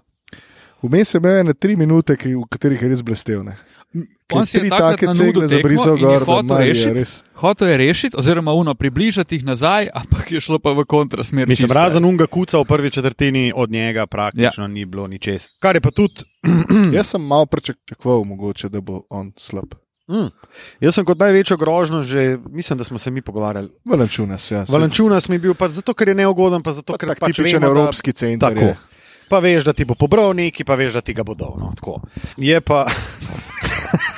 B: Vmes je imel ene tri minute, ki, v katerih je res blestev. ne. Ker
C: On si je
B: tri
C: takrat
B: take
C: na nudu
B: cegle
C: tekmo
B: zabrisal
C: in je
B: gor, da
C: hotel
B: mar je
C: rešiti.
B: res.
C: Hotel je rešiti, oziroma uno približati jih nazaj, ampak je šlo pa v kontrasmer.
A: Mislim,
C: čisto.
A: razen unga kuca v prvi četrtini, od njega praktično ja. ni bilo ničesar. Kar je pa tudi
C: Hmm.
B: Jaz sem malo pričakoval, mogoče, da bo on slab.
A: Mm. Jaz sem kot največjo grožnjo že, mislim, da smo se mi pogovarjali.
B: Valenčunas, ja. saj-
A: Valenčunas mi je bil, pa zato ker je neugoden, pa zato
B: Pa
A: ker
B: tak
A: pač
B: tipičen
A: vemo, da-
B: evropski center
A: Tako.
B: je.
A: Pa veš, da ti bo pobral neki, pa veš, da ti ga bo dal. No, tako. je pa.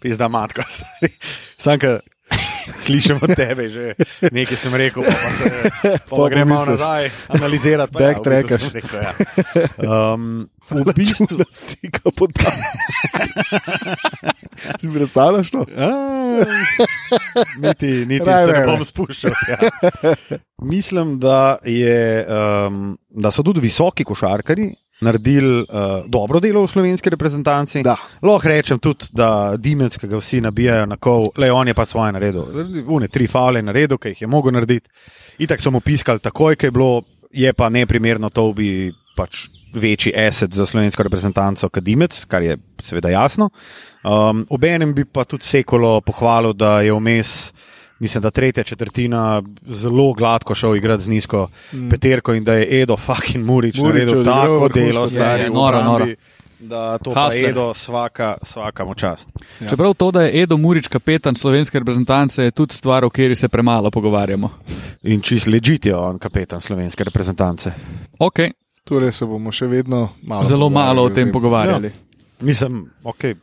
A: Pizda matka, stari. Sam, ki slišim od tebe, že nekaj sem rekel, pa, pa, se, pa, pa
B: Pa
A: gremo
B: pomisliš.
A: nazaj, analizirati. pa ja, v bistvu sem
B: Backtrackaš.
A: rekel, ja. Um, v bistvu.
B: stika pod tam. Si mi razstavljaš? No?
A: A, niti niti
B: Raj,
A: se
B: raj,
A: ne
B: raj.
A: bom spuščal. Ja. Mislim, da, je, um, da so tudi visoki košarkari naredili uh, dobro delo v slovenski reprezentanci.
B: Da.
A: Lahko rečem tudi, da Dimec, ki ga vsi nabijajo na kol, le on je pa svoje naredil. Une tri faule je naredil, ki jih je mogel narediti. Itak so mu piskali takoj, ko je bilo, je pa neprimerno to bi pač. Večji asset za slovensko reprezentanco, kot Dimec, kar je seveda jasno. Um, Obenem bi pa tudi Sekolo pohvalil, da je vmes, mislim, da tretja četrtina zelo gladko šel igrati z nizko mm. peterko in da je Edo fucking Murič,
B: Murič
A: Murič naredil tako
B: odigral vrhunsko
A: delo,
B: tekmo.
A: stari,
C: Je, je,
A: v
C: Ja, noro,
A: obrambi,
C: noro.
A: Da to pa
C: Hustler.
A: Edo svaka, svaka mu čast.
C: Ja. Čeprav to, da je Edo Murič kapetan slovenske reprezentance, je tudi stvar, o kateri se premalo pogovarjamo.
A: In čist ležite on, kapetan slovenske reprezentance.
C: Ok,
B: Torej se bomo še vedno malo
C: zelo malo o
B: pogovarjali Ja.
C: tem pogovarjali.
A: Mislim, okay,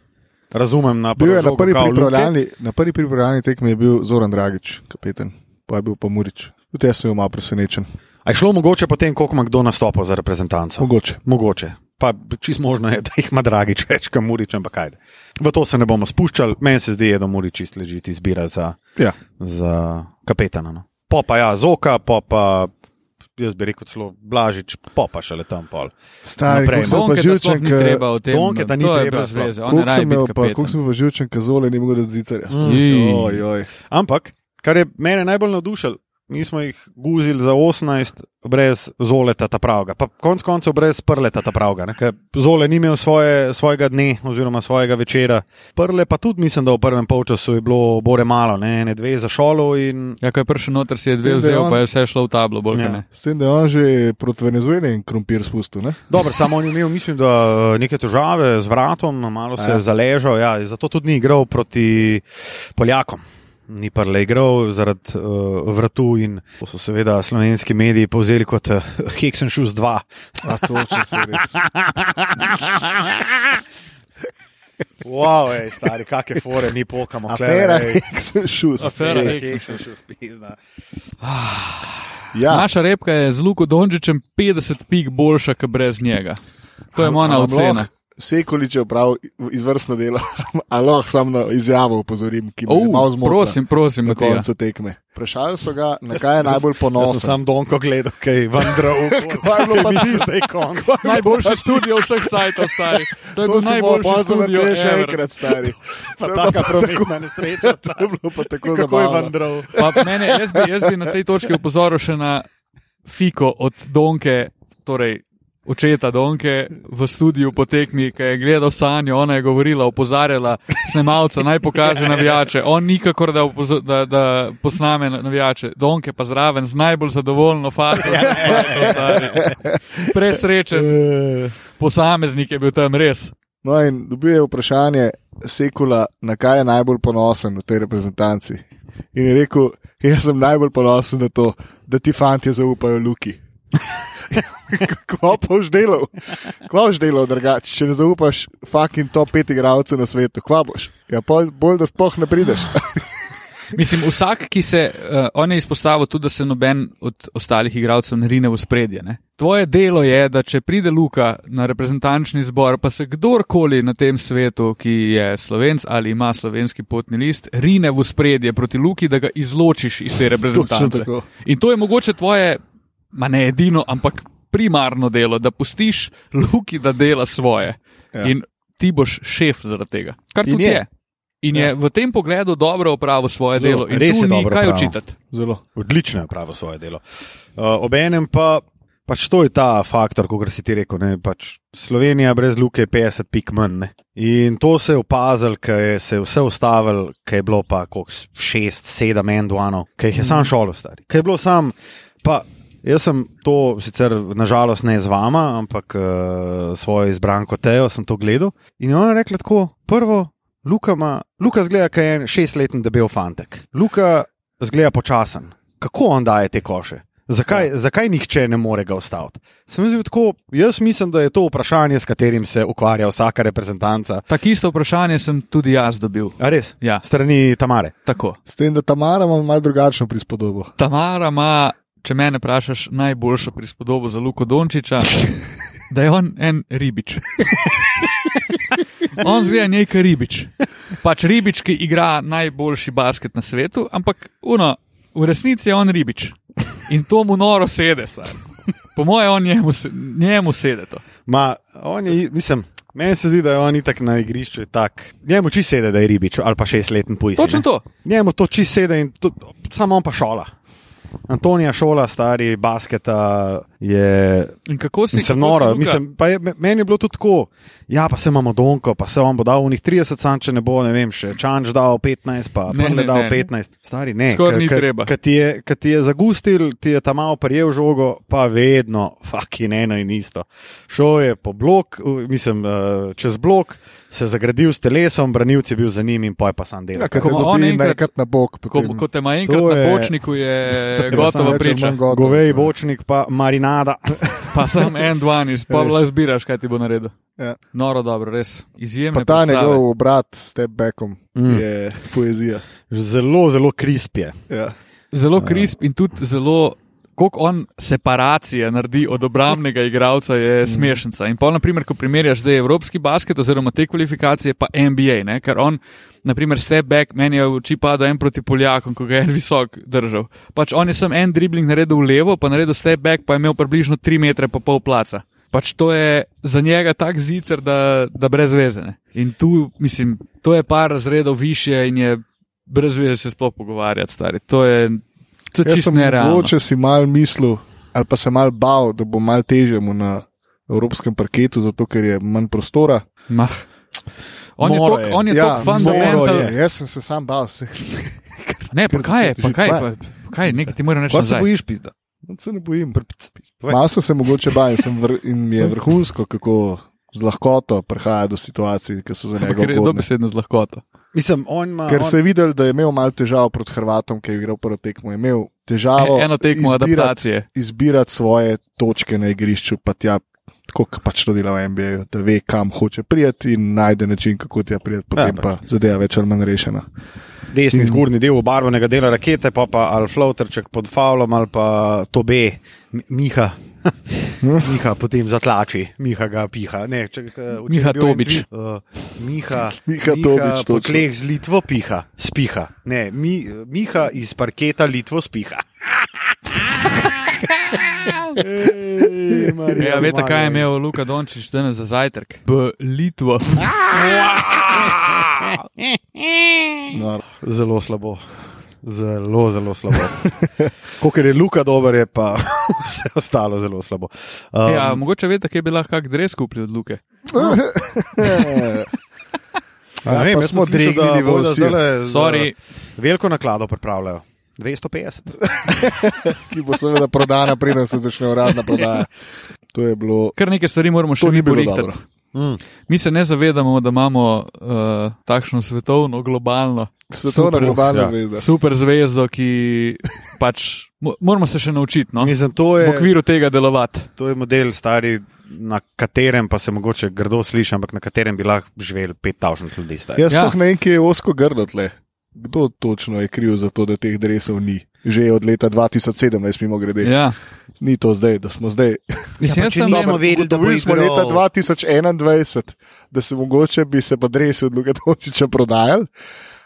A: razumem na
B: Bil je
A: prvo
B: na prvi
A: žogo kao Luke.
B: pripravljalni, na prvi pripravljalni tekmi je bil Zoran Dragič, kapetan, pa je bil pa Murič. Tudi jaz sem bil malo presenečen.
A: A je šlo mogoče potem, koliko ima kdo nastopal za reprezentanco?
B: Mogoče.
A: Mogoče. Pa čist možno je, da jih ima Dragič več, kot Murič, ampak kaj. V to se ne bomo spuščali, meni se zdi, da Murič čist ležite izbira za,
B: Ja.
A: za kapetana. No. Po pa ja, zoka, po pa. Jaz bi rekel, celo blažič, popa še le tam pol.
B: Stari,
A: Naprej,
B: kako sem pa
C: Donketa sploh
B: živčen,
C: ni
B: ke-
C: treba o tem,
A: Donketa ni
C: to je
A: treba
C: brez
A: sploh.
C: veze. on
B: koliko
C: raje
B: sem
C: biti
B: imel pa-
C: kapetan.
B: koliko sem bil pa živčen, kazole, ni mogel dati zicarja.
C: Mm.
B: Oj, oj.
A: Ampak, kar je mene najbolj navdušilo, mi smo jih guzili za 18, brez zoleta ta pravga, pa konc koncev brez prleta ta pravga. Ne? ker Zole ni imel svoje, svojega dne oziroma svojega večera. Prle pa tudi mislim, da v prvem polčasu je bilo bore malo, ne, ne dve za šolo in
C: Ja, ko je prišel noter, si je dve
B: tem, da je
C: vzel,
B: on-
C: pa je vse šlo v tablo, bolj
A: Ja.
C: kot ne.
B: S tem, da je on že proti Venezueli in krompir spustil. Ne?
A: Dobro, samo on je imel, mislim, da eh, neke težave z vratom, malo se
B: Ja.
A: je zaležal, ja, zato tudi ni igral proti Poljakom. Ni pa le igral zaradi uh, vratu in to so seveda slovenski mediji povzeli kot uh, Hexenšus 2.
B: A to če se res.
A: Wow, ej, stari, kakšne fore mi pokamo.
B: Afera, sem šus.
C: Afera
A: Afera
C: Ej,
A: Hexenšus pizna.
B: Ja.
C: Naša repka je z Luko Dončičem 50 pik boljša, kot brez njega. To je moja ocena.
B: Sekolič je opravil izvrstno delo, ali lahko samo na izjavo upozorim, ki me je malo
C: Oh,
B: zmotila
C: prosim, prosim,
B: na
C: na koncu.
B: koncu tekme. Vprašali so ga, na kaj je najbolj
A: Jaz sem
B: ponosen.
A: sam Donko gledal, kaj vandral.
B: Kaj je bilo pa
A: Mislim, da je konc.
C: Najboljši studio vseh cajtov, stari. To je bil
B: To si bo
C: najboljši
B: pozval,
C: studio
B: da je še
C: ever.
B: enkrat stari.
A: Pa
B: To je bilo
A: taka
B: pa
A: prometna nesreča.
B: To je bilo pa tako
A: Kako je
B: zabavno.
A: vandral?
C: Pa mene, jaz, bi, jaz bi na tej točki opozoril še na Fiko od Donke, torej očeta Donke v studiu po tekmi, ki je gledal sanjo, ona je govorila, opozarjala snemalca, naj pokaže navijače. On nikakor da, opozo- da, da posname navijače. Donke pa zraven z najbolj zadovoljno fazo. Presrečen posameznik je bil tam res.
B: E, No in dobil je vprašanje Sekula, na kaj je najbolj ponosen v tej reprezentanci. In je rekel, jaz sem najbolj ponosen na to, da ti fanti zaupajo Luki. Kva pa boš delal? Kva boš delal drugače, če ne zaupaš fucking top 5 igralcev na svetu? Kva boš? Ja, pol, bolj da spoh ne prideš.
C: Mislim, vsak, ki se, uh, on je izpostavil tudi, da se noben od ostalih igralcev ne rine v spredje. Ne? Tvoje delo je, da če pride Luka na reprezentančni zbor, pa se kdorkoli na tem svetu, ki je slovenc ali ima slovenski potni list, rine v spredje proti Luki, da ga izločiš iz te reprezentance.
B: tako.
C: In to je mogoče tvoje, ma ne edino, ampak primarno delo, da pustiš Luki, da dela svoje.
B: Ja.
C: Ja. In ti boš šef zaradi tega. Kar
B: In
C: tudi
B: je.
C: je. je. In ja. je v tem pogledu dobro opravil svoje
A: Zelo,
C: delo in
A: res je
C: tu ni
A: dobro
C: kaj
A: opravil.
C: očitati.
B: Zelo.
A: Odlično je pravo svoje delo. Uh, Obenem pa, pač to je ta faktor, kot si ti rekel. Ne, pač Slovenija brez luke je 50 pik manj. Ne. In to se je opazil, ker je se je vse ustavil, ker je bilo pa 6-7 enduanov, ker no, jih je sam šolo stari. Ker je bilo sam, pa Jaz sem to sicer nažalost ne z eh, vama, ampak uh, svojo izbranko Tejo sem to gledal. In ona je rekla tako: prvo, Luka, ima, Luka zgleda, kaj je en šestletni debel fantek. Luka zgleda počasen. Kako on daje te koše? Zakaj, ja. zakaj nihče ne more ga ustaviti? Sem jaz, bil tako, jaz mislim, da je to vprašanje, s katerim se ukvarja vsaka reprezentanca.
C: Tako isto vprašanje sem tudi jaz dobil.
A: A res?
C: Ja,
A: Strani Tamare.
C: tako.
B: S tem, da Tamara ima malo drugačno prispodobo.
C: Tamara ima, če mene vprašaš, najboljšo prispodobo za Luko Dončiča, da je on en ribič. On zgleda nekaj ribič. Pač ribič, ki igra najboljši basket na svetu, ampak uno, v resnici je on ribič. In to mu noro sede, star. Po mojem, on njemu, se- njemu sede to.
A: Ma, on je, mislim, meni se zdi, da je on itak na igrišču je tak. Njemu čisto sedi, da je ribič ali pa šestleten pujs.
C: Točno to.
A: Njemu to čisto sedi in to, samo on pa šola. Antonija šola, stari basketa je
C: In kako si
A: Mislim,
C: kako si,
A: noro,
C: Luka?
A: mislim, pa je, me- meni je bilo tudi tako, ja, pa se imamo Donko, pa se vam bo dal unih 30, sam če ne bo, ne vem, še Čanč dal 15, pa
C: Ne,
A: Prle
C: ne,
A: dal
C: ne.
A: 15. Stari, ne,
C: Skoraj
A: ka-
C: ni
A: ka-
C: treba.
A: Ka ti je, ka ti je zagustil, ti je tam malo prijel žogo, pa vedno, fucking eno in isto. Šel je po blok, v- mislim, eh, čez blok, se zagradil s telesom, branilci bil za njim in poj pa sam delal.
B: Ja, kako
C: Ko ima on
B: dobi
C: enkrat-
B: enkrat na bok.
C: Ko,
B: potem-
C: ko te ima enkrat
A: To
C: na
A: je-
C: bočniku, je
A: je
C: gotovo
A: samo
B: Reče,
C: priča.
B: manj gotovo. ja.
A: Govej, bočnik, pa marinada.
C: Pa sem en, dva, nič, pa
B: Res.
C: le zbiraš, kaj ti bo naredil.
B: Ja.
C: Noro, dobro, res.
B: Pa
C: Izjemno.
B: ta njegov obrat s step backom
A: Mm.
B: mm. je poezija.
A: Zelo, zelo krispje.
B: Ja.
C: Zelo krisp in tudi zelo, koliko on separacije naredi od obrambnega igralca, je smešnica. In pa, naprimer, ko primerjaš zdaj evropski basket oziroma te kvalifikacije, pa NBA, ne? ker on, naprimer, step back, meni je v oči pada en proti Poljakom, ko ga je en visok držal. Pač on je sem en dribling naredil v levo, pa naredil step back, pa je imel približno 3 metre pa pol placa. Pač to je za njega tak zicer, da, da brez vezene. In tu, mislim, to je par razredov više in je brez veze se sploh pogovarjati, stari. To je, to je
B: Jaz
C: čisto
B: sem
C: nerealno.
B: mogoče si mal mislil, ali pa se mal bal, da bo mal težjemu na evropskem parketu, zato ker je manj prostora.
C: Mah. On je
A: Noro
C: tok,
A: je.
C: on je ja, tok fundamental.
B: moro je. Jaz sem se sam bal, se,
C: Ne, pa kaj je, pa
B: Že
C: kaj,
B: kva?
C: pa, pa kaj, nekaj ti moram reči.
A: Ko se
C: nazaj.
A: bojiš, pizda?
B: No, se ne bojim.
A: Povej.
B: Mal sem se mogoče bal in, sem vr, in mi je vrhunsko, kako z lahkoto prihaja do situacij, ki so za njega
C: Ker je
B: ugodne.
C: dobesedno z lahkoto.
A: Mislim, on ima.
B: Ker
A: on-
B: se je videl, da je imel malo težav proti Hrvatom, ki je igral prvo tekmo. Je imel težavo
C: E, eno tekmo
B: izbirati,
C: adaptacije.
B: izbirati svoje točke na igrišču, pa tja, tako kot pač to dela v NBA, da ve, kam hoče priti in najde način, kako tja priti, potem
A: Ja,
C: pač.
B: pa zadeva več ali manj rešena.
A: desni
B: In-
A: zgornji del obarvanega dela rakete, pa pa ali floaterček pod faulom ali pa tobe, Mi- Miha. Miha potem zatlači, Miha ga piha. Ne, če, eh, včeraj
C: Miha
A: je bil en
C: Tobič.
A: tweet, eh, Miha,
B: Miha
A: Miha
B: Tobič,
A: po
B: točno.
A: tleh z Litvo piha, spiha. Ne, mi, eh, Miha iz parketa Litvo spiha. Ej, Marija,
C: Ja, veste, kaj je
A: Marija.
C: imel Luka Dončić danes za zajtrk? B Litvo.
B: No,
A: Zelo slabo. Zelo, zelo slabo. Ker je Luka dober, je pa vse ostalo zelo slabo. Um,
C: Ja, mogoče veste, kje bi lahko kak dres kupil od Luke.
A: Ja, ne vem,
B: pa
A: jaz
B: smo
A: smo dregnili, da
B: dregnili v
A: bodo
B: vsi.
A: zdajle eh, za
C: Sorry,
A: Veliko naklado pripravljajo. 250.
B: ki bo seveda prodana, preden se začne uradna prodaja. To je bilo.
C: kar nekaj stvari moramo še
B: To ni
C: mi
B: bilo
C: porihtati.
B: dobro.
A: Mm.
C: Mi se ne zavedamo, da imamo uh, takšno svetovno, globalno,
B: Svetovna
C: Super,
B: globalna
A: ja.
B: ja. veda.
C: super zvezdo, ki pač mo- moramo se še naučiti no?
A: Mislim, to
C: v
A: je,
C: okviru tega delovati.
A: to je model stari, na katerem pa se mogoče grdo sliši, ampak na katerem bi lahko živel 5000 ljudi. stari.
B: Jaz ja.
C: Ja.
B: ne vem, kje je osko grlo tle. Kdo točno je kriv za to, da teh drevesov ni? Že od leta 2017, mimo grede. Ja.
C: Ja.
B: Ni to zdaj, da smo zdaj.
C: Mislim,
A: Ja, pa
C: jaz
A: če
C: sem
A: nismo
C: dobro,
A: vedeli, da bo
B: Ugotovili smo
A: igral.
B: leta 2021, da se mogoče bi se pa drevesi od Luka Dončiča prodajali.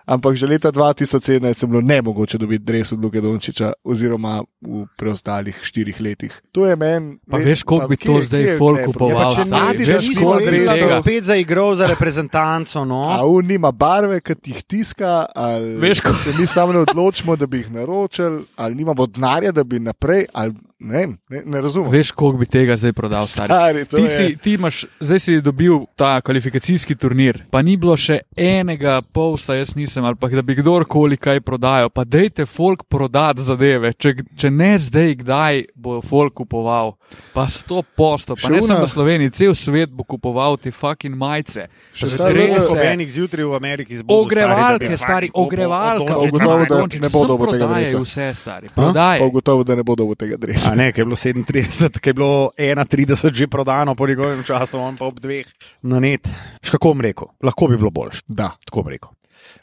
B: Ampak že leta 2017 je bilo nemogoče dobiti dreves od Luka Dončiča, oziroma v preostalih štirih letih. To je meni.
C: Pa veš, koliko bi
B: kje-
C: to
B: kje
C: zdaj
B: je
C: folk
B: tule problem?
C: kupoval,
B: Ja, pa če
C: stari?
B: Adidas
C: Veš,
B: nima
A: nismo
C: koliko
A: vedeli, da
B: drevesov,
A: so
C: tega.
A: spet zaigral za reprezentanco.
B: A
A: No?
B: on nima barve, ki jih tiska, ali
C: Veš, ko-
B: se mi samo ne odločimo, da bi jih naročili, ali nimamo denarja, da bi naprej, ali Ne, vem, ne, ne razumem.
C: Veš, koliko bi tega zdaj prodal, stari.
B: Stari, to
C: Ti,
B: je-
C: si, ti imaš, zdaj si dobil ta kvalifikacijski turnir, pa ni bilo še enega posta, jaz nisem, ali pa da bi kdorkoli kaj prodajal. Pa dejte folk prodati zadeve, če, če ne zdaj, kdaj bo folk kupoval. Pa sto posto, pa
B: Še
C: ne samo
B: una-
C: v Sloveniji, cel svet bo kupoval te fucking majice.
B: Še
A: Že
B: zdaj
A: zelo
B: bodo-
A: ob enih zjutraj v Ameriki zbudil.
C: Ogrevalke, stari, ogrevalke,
B: Bo gotovo, da ne bo dobil tega dresa.
C: Vse, stari, prodaj.
B: Pa gotovo, da ne bo dobil tega drevesa.
A: A ne, ki je bilo 37, ki je bilo 31 že prodano po njegovem času, on pa ob dveh na net. Še kako bom rekel, lahko bi bilo boljše.
B: Da.
A: Tako bom rekel.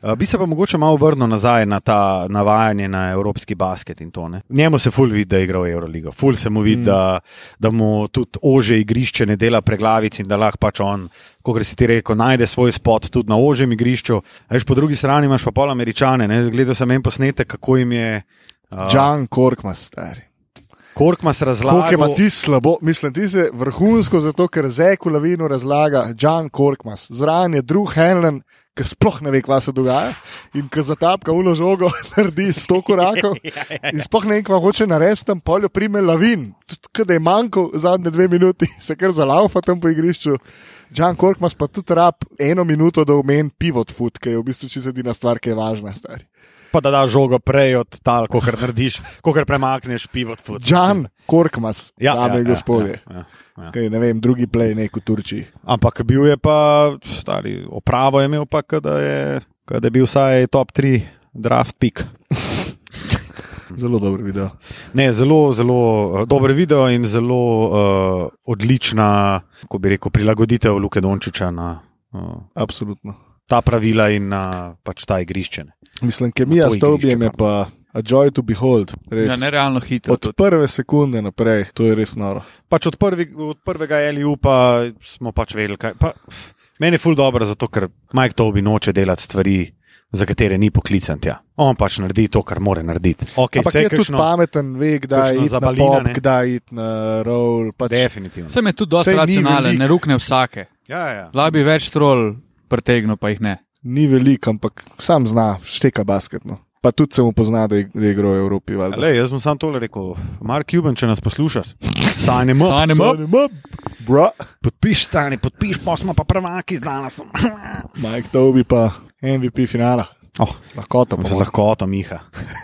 A: Eh, Bi se pa mogoče malo vrnil nazaj na ta navajanje na evropski basket in to. Ne? Njemu se ful vidi, da je igral Euroligo, ful se mu vidi, mm. da, da mu tudi ože igrišče ne dela preglavic in da lahko pač on, kot si ti rekel, najde svoj spot tudi na ožem igrišču. A Veš, po drugi strani imaš pa pol američane. Ne? Gledal sem en posnetek, kako jim je. Uh,
B: John Korkma, stari.
A: Korkmas
B: Koliko
A: razlagal,
B: ima ti slabo, mislim, ti se vrhunsko, zato ker zeku lavino razlaga John Korkmas. Zraven je drug Henlen, ki sploh ne ve, kva se dogaja in ki zatapka ulo žogo, naredi sto korakov in sploh ne ve, kva hoče narediti, tam poljo prime lavin. Tudi, kad je manjkal zadnje dve minuti, se kar zalaufa tam po igrišču. John Korkmas pa tudi rab eno minuto, da omeni pivot foot, ki je v bistvu čisto edina stvar, ki je važna, stari.
A: pa da daš žogo prej od tal, ko kar narediš, ko kar premakneš pivo.
B: John Korkmas, ja, dame in gospodje.
A: Ja, ja, ja.
B: Kaj, ne vem, drugi play nek v Turčiji.
A: Ampak bil je pa, stari, opravo je imel, pa kot da je, kot da je bil vsaj top 3 draft pik.
B: Zelo dober video.
A: Ne, zelo, zelo eh, dober video in zelo uh, odlična, kako bi rekel, prilagoditev Luke Dončiča na uh,
B: Absolutno.
A: ta pravila in na pač ta igrišče. ne.
B: Mislim, kemija
A: Na to
B: s Tobijem je
A: igrišče,
B: pa a joy to behold. Res.
C: Ja, nerealno hitro.
B: Od
C: tudi.
B: prve sekunde naprej, to je res noro.
A: Pač od, prvi, od prvega LU pa smo pač vedeli, kaj. Pa, meni je ful dobro, zato ker Mike Tobi noče delati stvari, za katere ni poklican tja. On pač naredi to, kar more narediti. Okay,
B: Ampak
A: saj
B: je tudi
A: kakšno-
B: pameten, ve, kdaj
A: kakšno
B: je na
A: zabalina,
B: pop,
A: ne?
B: kdaj je na roll. Pač.
A: Definitivno.
C: Sem je tudi dosti
B: Saj ni
C: racionalen,
B: veliko.
C: ne rukne vsake.
A: Ja, ja.
C: Labi več trol pretegnil, pa jih ne.
B: Ni velik, ampak sam zna, šteka basketno. Pa tudi se mu pozna, da je da je igral v Evropi. valjda.
A: Le, jaz sem samo tole rekel, Mark Cuban, če nas poslušaš, sanjem
B: Oh,
A: up,
C: Sign 'em up.
B: Bro,
A: podpiš stani, podpiš, pa smo pa prvaki z danes.
B: Mike Tobi pa MVP finala.
A: Oh,
B: Lahko to
A: z
B: pomeni.
A: lahkoto, Miha,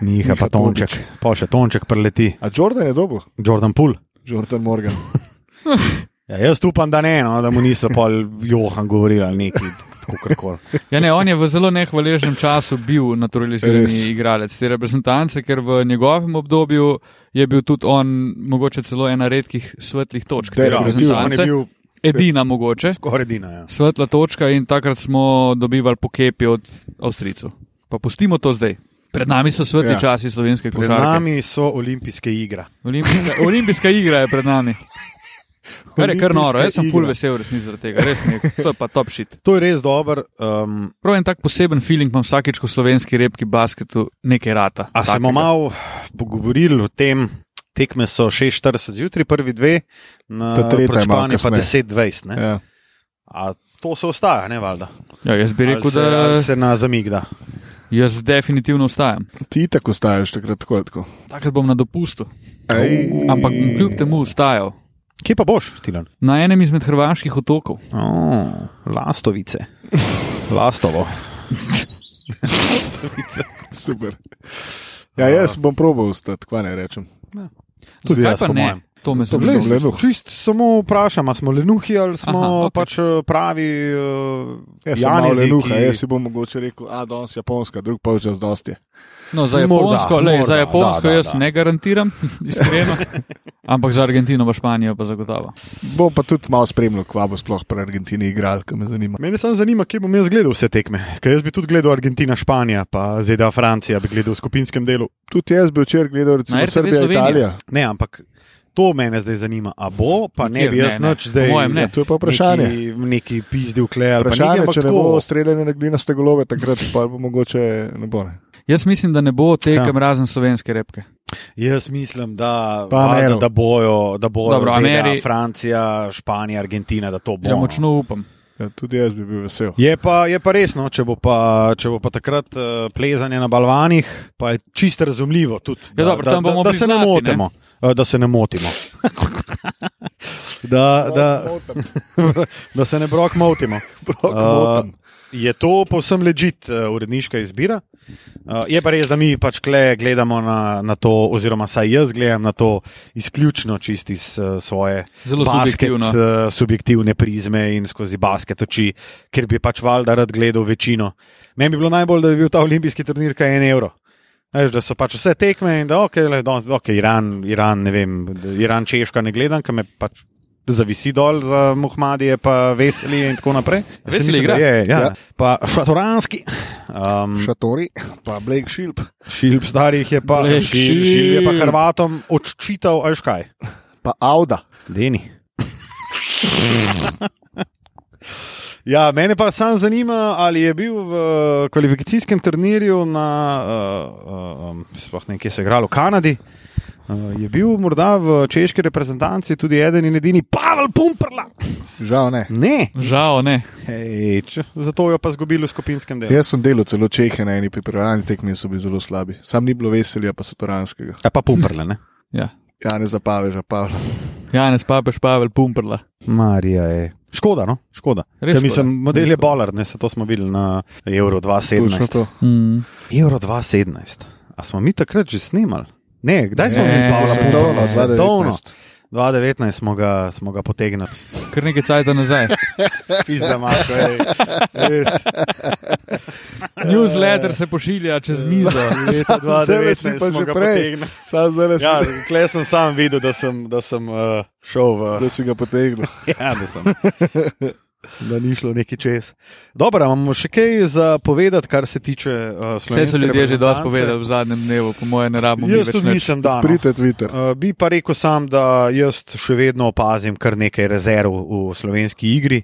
A: Miha pa
B: Miha Tončič.
A: Tonček, pa še Tonček preleti,
B: A Jordan je dobil,
A: Jordan Pool.
B: Jordan Morgan.
A: Ja, jaz upam, da ne, no, da mu niso pol Johan govorili ali nekaj, tako karkoli.
C: Ja, ne, on je v zelo nehvaležnem času bil naturalizirani
B: Res.
C: Res. igralec te reprezentance, ker v njegovem obdobju je bil tudi on, mogoče celo ena redkih svetlih točk. te
B: Definitivno,
A: on je
C: reprezentance.
A: bil
C: Edina mogoče,
A: skoraj edina. Ja.
C: svetla točka in takrat smo dobivali pokepi od Avstrijcev. Pa pustimo to zdaj. Pred nami so svetli
B: Ja.
C: ja. časi slovenske
A: Pred
C: košarke.
A: nami so olimpijske igre.
C: Olimpijska, olimpijska igra je pred nami. Kar je kar noro, jaz sem
B: Olimpijska
C: full
B: igra.
C: vesel resnici zaradi tega, res mi je, to je pa top shit.
A: To je res dober. Um,
C: Prav en tak poseben feeling imam vsakeč, ko slovenski repki basketu nekaj rata.
A: a
C: Takega.
A: smo malo pogovorili o tem, tekme so 6:40 zjutraj, prvi dve, na
B: Ta tretja je malo
A: Španiji pa
B: kasneje.
A: 10:20. ne?
B: Ja.
A: A to se ostaja, ne valjda.
C: Ja, jaz bi rekel,
A: Ali se,
C: da
A: ali se na zamigda.
C: jaz definitivno ostajam.
B: Ti tako staješ, takrat tako. ali tako.
C: Takrat bom na dopustu,
B: Ej.
C: ampak bom kljub temu ostajal.
A: Kje pa boš, Tilan?
C: Na enem izmed hrvaških otokov.
A: Oh, lastovice. Lastovo.
B: Super. Ja, jaz bom probal ostati, kva ne rečem.
A: Tudi
C: Zakaj
A: jaz,
C: pa
A: po
C: ne?
A: mojem.
C: To me
B: Zato
C: zelo
B: bi
C: zanima.
B: se lenuh.
A: Čist samo vprašam, ali smo lenuhi ali smo
C: Aha,
A: Aha, okay.
C: okej.
A: pač eh, pravi uh,
B: Jaz sem Ja, malo
A: janezi,
B: lenuha,
A: ki...
B: jaz si bom mogoče rekel, a danes japonska, drug pa včas dosti je.
C: No, za
A: Morda,
C: Japonsko, morda, lej,
A: morda,
C: za Japonsko
A: da,
C: da,
A: da,
C: jaz
A: da.
C: da. ne garantiram, iskreno. Ampak za Argentino, pa Španijo, pa zagotovo.
B: Bom pa tudi malo spremljal, kva bo sploh pri Argentini igral, ki me zanima.
A: Mene samo zanima, kje bom jaz gledal vse tekme. Ker jaz bi tudi gledal Argentina, Španija, pa ZDA, Francija, bi gledal v skupinskem delu.
B: Tudi jaz bi včeraj gledal,
C: Na
B: recimo,
C: RTV
B: Srbija,
C: Slovenija.
B: Italija.
A: Ne, ampak to mene zdaj zanima. A bo, pa ne
C: Nikjer
A: bi
C: ne,
A: jaz
C: ne.
A: nič
C: Po
A: zdaj.
C: mojem ne.
B: Ja, to je pa vprašanje.
A: Neki, neki pizdi v kleju.
B: Vprašanje, če ne bo streljanje na glinaste golove, takrat pa bo mogoče ne bo. Ne.
C: Jaz mislim, da ne bo
A: Ja.
C: tekem razen slovenske repke.
A: Jaz mislim, da,
B: Pa
A: valjda,
B: Amero.
A: da bojo, da bojo
C: Dobro,
A: ZDA,
C: Ameri-
A: Francija, Španija, Argentina, da to bo.
C: Ja,
A: no.
C: močno upam.
B: Ja, tudi jaz bi bil vesel.
A: Je pa, je pa resno, če bo pa, če bo pa takrat eh, uh, plezanje na balvanih, pa je čisto razumljivo, tudi, da,
C: Ja, dobro,
A: da,
C: tam
A: da,
C: bomo
A: da se ne
C: bili zlati, ne?
A: motimo. eh, da se ne motimo. da, Ja, da, da se ne brok motimo.
B: Brok
A: Eh,
B: motam.
A: Je to povsem ležit uredniška izbira. Eh, Je pa res, da mi pač kle gledamo na, na to, oziroma saj jaz gledam na to izključno čist iz eh, svoje
C: Zelo
A: basket,
C: subjektivno.
A: eh, subjektivne prizme in skozi basket oči, ker bi pač valjda rad gledal večino. Meni bi bilo najbolj, da bi bil ta olimpijski turnir kaj en evro. Veš, da so pač vse tekme in da ok, le, danes, ok, Iran, Iran, ne vem, Iran, Češka ne gledam, ker me pač zavisi dol za Muhmadije, pa veseli in tako naprej. Jaz
C: Veseli
A: mislim,
C: igra.
A: da Je, ja.
B: Ja.
A: ja. Pa šatoranski. Um,
B: Šatori, pa Blake Shilp.
A: Šilp starih je pa,
C: Blek
A: šil, šil je pa
C: Šilp.
A: Hrvatom odčital, ajš kaj.
B: Pa Auda.
A: Deni. Ja, mene pa sam zanima, ali je bil v eh, kvalifikacijskem turnirju na, uh, um, sploh ne, vem, kje se je igralo, v Kanadi. Uh, je bil morda v češki reprezentanci tudi eden in edini Pavel Pumprla?
B: Žal ne.
A: Ne,
C: Žal ne.
A: Hej, če, zato jo pa izgubili v skupinskem delu.
B: Jaz sem delal celo Čehe na eni pripravljalni tekmi in so bili zelo slabi. Sam ni bilo veselja, pa Satoranskega.
A: Ja, pa Pumprla, ne?
C: Ja.
B: Ja, ne zapaveža, Pavel.
C: Janez Papež Pavel Pumprla.
A: Marija je. Škoda, no? škoda.
C: Res
A: Ker
C: škoda.
A: Mislim, model je bolar, ne se to smo bili na Euro
B: Točno
A: 2017.
B: to.
C: Mm.
A: Euro 2017. A smo mi takrat že snimali? Ne, kdaj smo
C: Ne,
A: mi Pavla
C: svetovno,
A: Pumperla?
B: Svetovno.
A: 2019 smo ga, smo ga potegnili.
C: Kar nekaj cajt nazaj.
A: Pizda, mašo, ej. Res.
C: Newsletter se pošilja čez mizo.
A: Leta
B: Zdaj si
A: 2019
B: pa
A: smo
B: že
A: ga
B: prej.
A: potegnili.
B: Sam zdaj si,
A: Ja, kle sem sam videl, da sem, da sem uh, šel v.
B: da si ga potegnil.
A: Ja, da sem. Da ni šlo neki čez. Dobro, a imamo še kaj za povedati, kar se tiče uh, slovenske.
C: Vse so ljudje že dosti
A: reprezentance?
C: povedali v zadnjem dnevu, po mojem, ne rabimo. mi
A: Jaz
C: več
A: tudi
C: nič.
A: nisem dan.
B: Prite Twitter.
A: Uh, bi pa rekel sam, da jaz še vedno opazim kar nekaj rezerv v slovenski igri.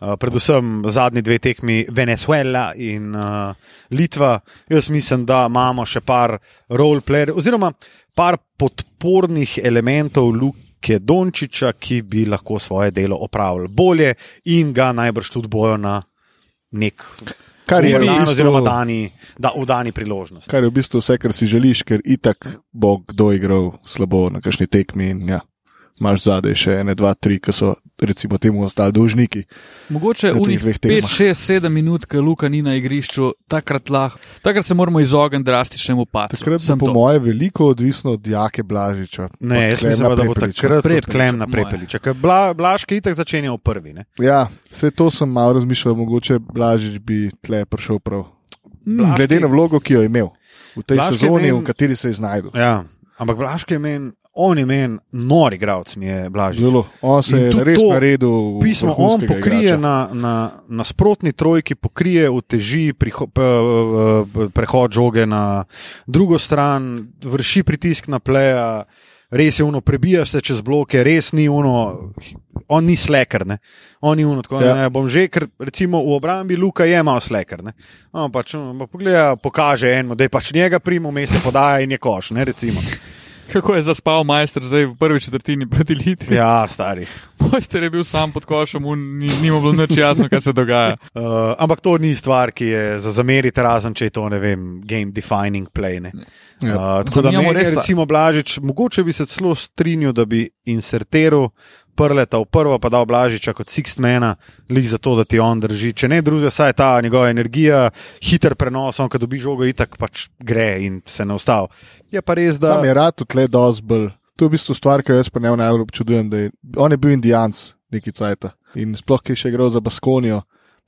A: Uh, predvsem zadnji dve tekmi Venezuela in uh, Litva. Jaz mislim, da imamo še par roleplayerjev oziroma par podpornih elementov Luke Dončiča, ki bi lahko svoje delo opravili bolje in ga najbrž tudi bojo na nek
B: Kar je, v
A: dan, oziroma
B: bistvu,
A: dani, da, v dani priložnosti.
B: kar je v bistvu vse, kar si želiš, ker itak bo kdo igral slabo na kakšni tekmi. In, ja. Máš zadaj še ene, dva, tri, ki so recimo temu ostali dolžniki.
C: Mogoče
B: Na teh
C: unih
B: dveh
C: 5,
B: tekmah.
C: 6, 7 minut, ki Luka ni na igrišču, takrat lahko, takrat se moramo izogniti drastičnemu padcu.
B: Takrat bo,
C: Sem
B: po
C: to.
B: moje, veliko odvisno od Jake Blažiča. pa
A: Ne, jaz
B: Klemna
A: mislim, pa, da bo
B: Prepeliča.
A: takrat tudi
C: Prepeliča,
A: klem na
C: po moje.
A: prepeliča. ker Bla, Blaški itak začenja v prvi. Ne?
B: Ja, vse to sem malo razmišljal, mogoče Blažič bi tle prišel prav.
A: Blažki-
B: Glede na vlogo, ki jo je imel v
A: Blažki
B: tej Blažki sezoni,
A: meni-
B: v kateri se je znašel.
A: Ja, ampak Blaški je meni, on je meni, nor igralec mi je Blažki.
B: Zelo, on se
A: In
B: je
A: tudi
B: res
A: to
B: naredil.
A: Pismo on
B: vrhunskega
A: pokrije
B: igrača.
A: na, na nasprotni trojki, pokrije v teži priho, p, p, prehod žoge na drugo stran, vrši pritisk na pleja, res je uno, prebija se čez bloke, res ni uno, on ni slekar, ne. on ni uno, tako
B: Ja.
A: ja. ne bom že, ker recimo v obrambi Luka je malo slekar. Ne. On pač um, pogleda, pokaže enemu, da je pač njega primo, me se podaja in je koš, ne recimo.
C: Kako je zaspal majster zdaj v prvi četrtini proti Litvi?
A: Ja,
C: Ja.
A: stari.
C: Mojster je bil sam pod košem, un- ni, ni mu bilo nič jasno, kaj se dogaja.
A: Uh, ampak to ni stvar, ki je za zameriti, razen če je to, ne vem, game defining play. ne. Uh,
B: Ja.
A: tako da
C: Zamenjamo
A: meni,
C: res
A: je
C: ta-
A: recimo, Blažič, mogoče bi se celo strinjal, da bi inserteral prleta v prvo, pa dal Blažiča kot sixtmana, lik za to, da ti on drži. Če ne drugega, saj ta njegova energija, hiter prenos, on, ko dobi žogo, itak pač gre in se ne ustavi. Je pa res, da
B: Sam je rad tle dozbel. To je v bistvu stvar, ki jo jaz pa ne najbolj občudujem. da Je, on je bil indijanc, neki cajt. In sploh, ki je še igral za Baskonijo.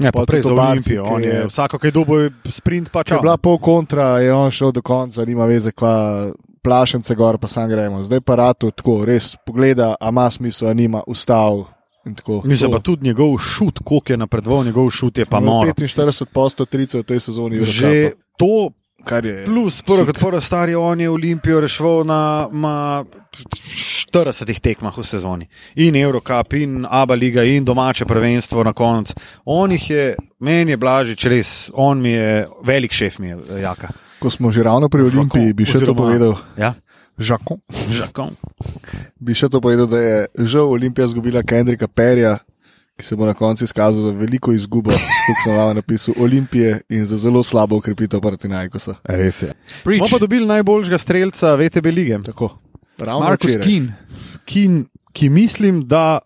A: Ja, pa
B: pa
A: prej za
B: tudi v Barci,
A: Olimpijo.
B: ki
A: on Je,
B: je-
A: vsako, ki je dobil sprint, pač
B: Če je bila pol kontra, je on šel do konca, nima veze, kva plašence gor, pa sam gremo. Zdaj pa ratu tako, res pogleda, a ima smisel, a nima, ustavil. in tako.
A: Mislim
B: To-
A: pa tudi njegov šut, koliko je napredoval njegov šut, je pa
B: Imel
A: noro.
B: 45 postov, 30 v tej sezoni je
A: Že to,
B: kar je.
A: plus prvo kot prvo, stari on je Olimpijo rešil na ma, 40 tekmah v sezoni. In Eurocup, in Abu Leiga, in domače prvenstvo na koncu. On jih je, meni je Blažič res, on mi je, velik šef mi je, eh, jaka.
B: Ko smo že ravno pri Olimpiji, bi še to
A: Oziroma-
B: povedal.
A: Ja,
B: Žakon.
A: žakon.
B: Bi še to povedal, da je žal Olimpija izgubila Kendrika Perja, ki se bo na koncu izkazal za veliko izgubo, kot sem vam napisal, Olimpije in za zelo slabo ukrepitev Partinajkosa.
A: Res je. Smo
C: Preach.
A: pa dobili najboljšega strelca VTB lige.
B: Tako. Ravno
C: Markus
B: včeraj.
C: Kin.
A: ki, ki mislim, da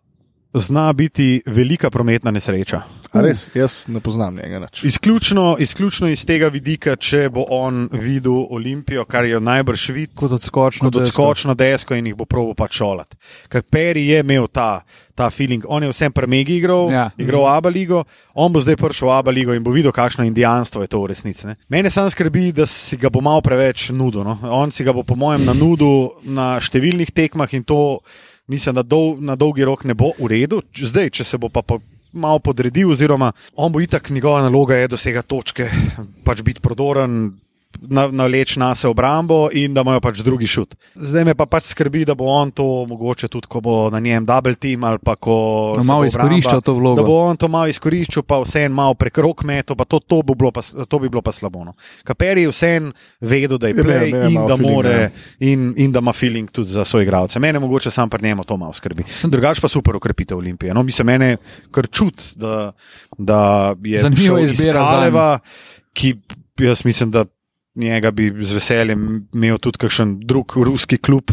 A: zna biti velika prometna nesreča.
B: A Res, jaz ne poznam njega. Nič.
A: Izključno, izključno iz tega vidika, če bo on videl Olimpijo, kar je najbrž videl.
C: Kot odskočno.
A: Kot odskočno desko in jih bo probo pač šolat. Ker Peri je imel ta, ta feeling, on je vsem premegi igral,
C: Ja.
A: ja. igral Abba ligo, on bo zdaj prišel v Abba ligo in bo videl, kakšno indijanstvo je to v resnici. Ne? Mene sam skrbi, da si ga bo malo preveč nudil. No? On si ga bo, po mojem, na nudu na številnih tekmah in to mislim, da dol, na dolgi rok ne bo v redu. Zdaj, če se bo pa po, malo podredil, oziroma on bo itak njegova naloga je dosegati točke, pač biti prodoren. na- Navleč na se obrambo in da imajo pač drugi šut. Zdaj me pa pač skrbi, da bo on to mogoče tudi, ko bo na njem double team ali pa ko.
C: Da
A: se
C: No, malo
A: bo obramba-
C: izkoriščal to vlogo.
A: Da bo on to malo izkoriščal, pa vse en malo prekrok meto, pa to, to, bi bilo pa, s- to bi bilo pa slabo. No. Kaperi je vse en vedel, da je
B: Je imel-
A: play
B: imel je
A: in
B: malo
A: da
B: feelinga,
A: more
B: ja.
A: in, in da ima feeling tudi za svoje igralce. Mene mogoče sam pri njemu to malo skrbi. Sem drugač pa super ukrepitev Olimpije. No, mi se mene kar čut, da, da je
C: Zanimiva
A: šel iz
C: izbira zanj.
A: Kaleva, ki jaz mislim, da. Njega bi z veseljem imel tudi kakšen drug ruski klub,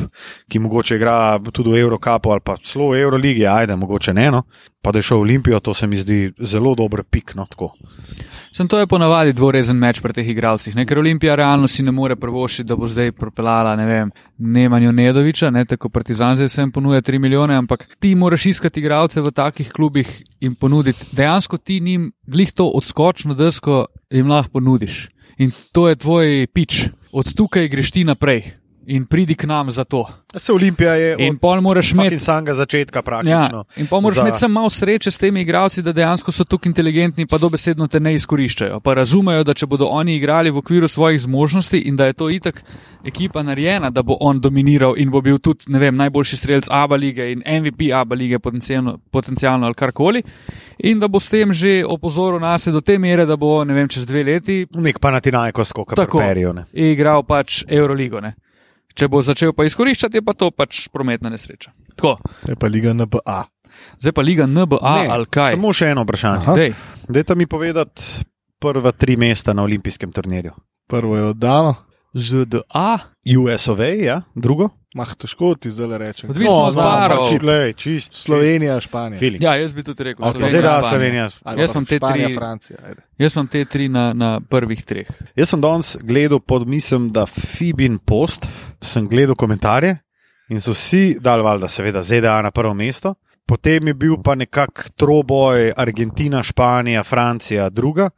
A: ki mogoče igra tudi v Eurocapu ali pa celo v Euroligi, ajde, mogoče ne. No. Pa da je šel v Olimpijo, to se mi zdi zelo dobro, pikno tako.
C: Sem to je ponavadi dvorezen meč pri teh igralcih, ne? ker Olimpija realno si ne more prvošiti, da bo zdaj propeljala, ne vem, Nemanjo Nedoviča, ne? tako Partizan zdaj vsem ponuja 3 milijone, ampak ti moraš iskati igralce v takih klubih in ponuditi. Dejansko ti njim glih to odskočno desko jim lahko ponudiš. In to je tvoj pič. Od tukaj greš ti naprej in pridi k nam za to.
A: Se Olimpija je
C: In
A: od
C: pol moraš imeti
A: fucking samega začetka praktično.
C: Ja, in pa moraš
A: za-
C: imeti samo malo sreče s temi igralci, da dejansko so tukaj inteligentni, pa dobesedno te ne izkoriščajo. Pa razumejo, da če bodo oni igrali v okviru svojih zmožnosti in da je to itak ekipa narejena, da bo on dominiral in bo bil tudi ne vem, najboljši strelec ABA lige in MVP ABA lige potencialno, potencialno ali karkoli. In da bo s tem že opozoril nas do te mere, da bo ne vem, čez dve leti
A: Nek panatinajkos, kot
C: Tako.
A: Kaperijo.
C: igral pač Euroligo. Ne? Če bo začel pa izkoriščati, je pa to pač prometna nesreča. Tako,
B: Je pa liga NBA.
C: zdaj pa liga NBA
A: Ne,
C: ali kaj.
A: Samo še eno vprašanje.
C: Dej.
A: Dajte mi povedati prva tri mesta na olimpijskem turnirju.
B: Prvo je oddano.
C: ZDA,
A: USOV, ja, drugo. No,
B: Mah, težko ti zdaj rečem.
C: odvisno od barov.
A: pač, glej, čist
B: Slovenija, Španija.
A: Filip.
C: Ja, jaz bi tudi rekel,
A: Okay, zdaj da Slovenija.
B: Ali
C: Jaz
B: pa
C: imam te
B: Španija,
C: tri-
B: Francija. ajde.
C: Jaz imam te tri na, na prvih treh.
A: Jaz sem danes gledal pod mislim, da Fibin post, sem gledal komentarje in so vsi dal valjda, seveda, ZDA na prvo mesto. Potem je bil pa nekak troboj Argentina, Španija, Francija, druga,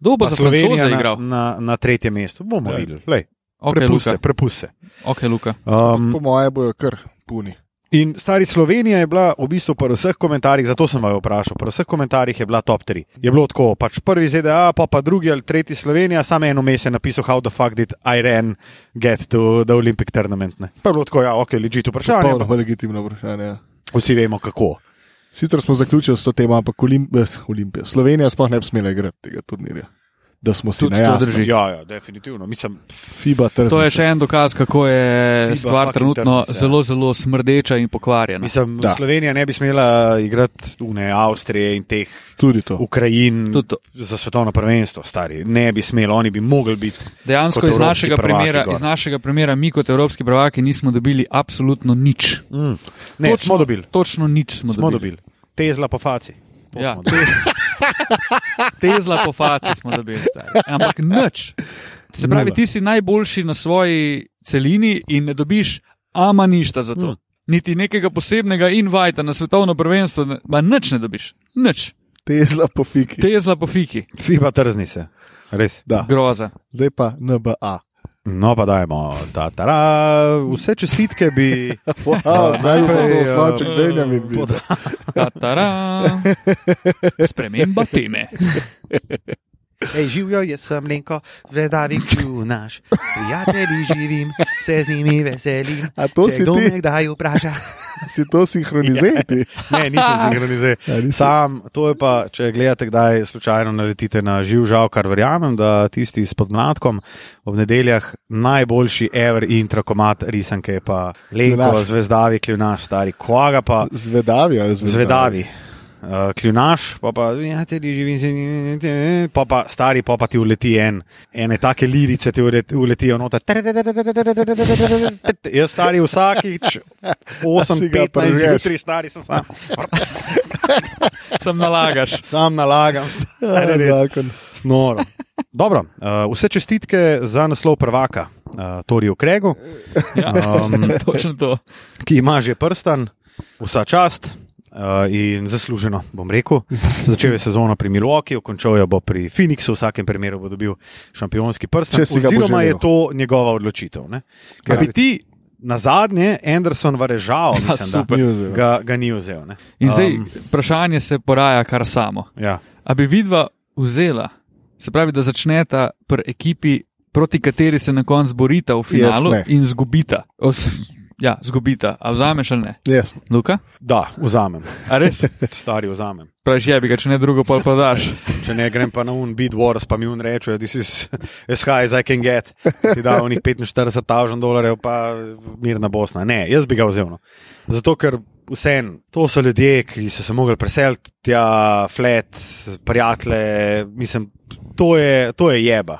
C: Kdo bo
A: pa
C: za Slovenijo
A: Slovenija na,
C: igral?
A: na, na tretjem mestu. Bomo
B: Ja.
A: videli, Lej,
C: Okay,
A: prepust
C: Luka.
A: se, prepust se.
C: Okay, Luka.
A: Um,
B: Po moje bojo kar puni.
A: In stari Slovenija je bila v bistvu po vseh komentarjih, zato sem jo vprašal, po vseh komentarjih je bila top 3. Je bilo tako, pač prvi ZDA, pa pa drugi ali tretji Slovenija, samo eno mesec je napisal, how the fuck did Iran get to the Olympic tournament. Ne? Pa je bilo tako, ja, ok, ležite vprašanje, ampak
B: Popolnoma legitimno vprašanje. ja.
A: vsi vemo kako.
B: Sicer smo zaključili s to temo, ampak Olimp eh, Olimpija. Slovenija sploh ne bi smela igrati tega turnirja. Da smo si
C: Tudi
B: na
C: to
B: jasnem.
C: drži.
A: Ja, ja, definitivno. Mislim,
B: FIBA trzne
C: To je
B: se.
C: še en dokaz, kako je
A: Fiba
C: stvar
A: fucking
C: trenutno
A: trdnica, ja.
C: zelo, zelo smrdeča in pokvarjena.
A: mislim
B: Da.
A: Slovenija ne bi smela igrati une Avstrije in teh
B: Tudi to.
A: Ukrajin
C: Tudi to.
A: za svetovno prvenstvo, stari. Ne bi smela, oni bi mogli biti.
C: Dejansko
A: Kot
C: iz
A: evropski
C: našega,
A: prvaki
C: primera,
A: gor.
C: iz našega primera, mi kot evropski prvaki, nismo dobili absolutno nič.
A: Mm. Ne,
C: Točno.
A: smo dobili.
C: Točno nič smo,
A: Smo
C: dobili.
A: dobili. Tezla po faci. To
C: Ja.
A: smo dobili.
C: Tezla po faci smo dobili. Stari. Ampak nič. Se pravi,
B: Nula.
C: ti si najboljši na svoji celini in ne dobiš ama ništa za to.
A: Mm.
C: Niti nekega posebnega invajta na svetovno prvenstvo, ne- ma nič ne dobiš. Nič.
B: Tezla po fiki.
C: Tezla po fiki,
A: FIBA trzni se, res.
B: Da.
C: groza.
B: Zdaj pa NBA.
A: No, pa dajmo, da tara, vse čestitke bi.
B: Wow, Zdaj je
A: Najprej,
B: to
A: eh,
B: osnovček Benjamin. bil.
C: Ta-ta-ra. Sprememba teme.
A: Ej, živijo, jaz sem Lenko, vedavik čunaš. Prijatelji živim, se z njimi veselim.
B: A to si ti,
A: kdaj vpraša?
B: si to sinhronizirati?
A: Ne, Ja, nisem sinhroniziral. Sam, to je pa, če gledate, kdaj slučajno naletite na živ žal, kar verjamem, da tisti s podmladkom ob nedeljah najboljši ever intrakomat risanke, pa Lenko,
B: Kljunaš.
A: zvezdavi, kljunaš, stari, koga pa.
B: Zvedavi ali zvedavi?
A: Zvedavi. uh, kljunaš, pa pa, ja, te živim, se ni- pa pa stari, pa pa ti uleti en, ene take lirice ti ule- uletijo noter. Jaz stari vsakič,
B: Si ga
A: 8-15
B: prežgeš.
A: zjutraj, stari sem sam,
C: Sam nalagaš.
A: sam nalagam. Stari, res.
B: Ja, Zakon.
A: Noro. Dobro, uh, vse čestitke za naslov prvaka, uh, Toriju Kregu,
C: Ja,
A: um,
C: točno to.
A: ki ima že prstan, vsa čast. Uh, in zasluženo, bom rekel. Začel je sezono pri Milwaukeeju, končal jo bo pri Phoenixu, v vsakem primeru bo dobil šampionski prst.
B: Če si ga bo
A: Oziroma
B: želel. Ja.
A: je to njegova odločitev. Ne?
C: A
A: Ker
C: bi ti
A: na zadnje Anderson varežal, mislim, da
C: super.
B: Ni vzel.
A: ga, ga ni vzel. ne.
C: In zdaj
A: Um,
C: vprašanje se poraja kar samo.
A: ja.
C: A bi vidva vzela, se pravi, da začneta pri ekipi, proti kateri se na koncu borita v finalu
B: Jaz ne.
C: in zgubita. Os, ja, zgubita. A vzameš ali ne?
B: Yes.
C: Luka?
A: Da, vzamem,
C: A res?
A: stari vzamem.
C: Praviš, je bi ga, če ne drugo, pa podaš.
A: Če ne grem pa na un, beat wars, pa mi un reče, this is as high as I can get. Ti da onih 45.000 dolarjev, pa mirna Bosna. Ne, jaz bi ga vzel. No. Zato, ker vsem, to so ljudje, ki so se mogli preseliti, tja, flat, prijatelje, mislim, to je, to je jeba.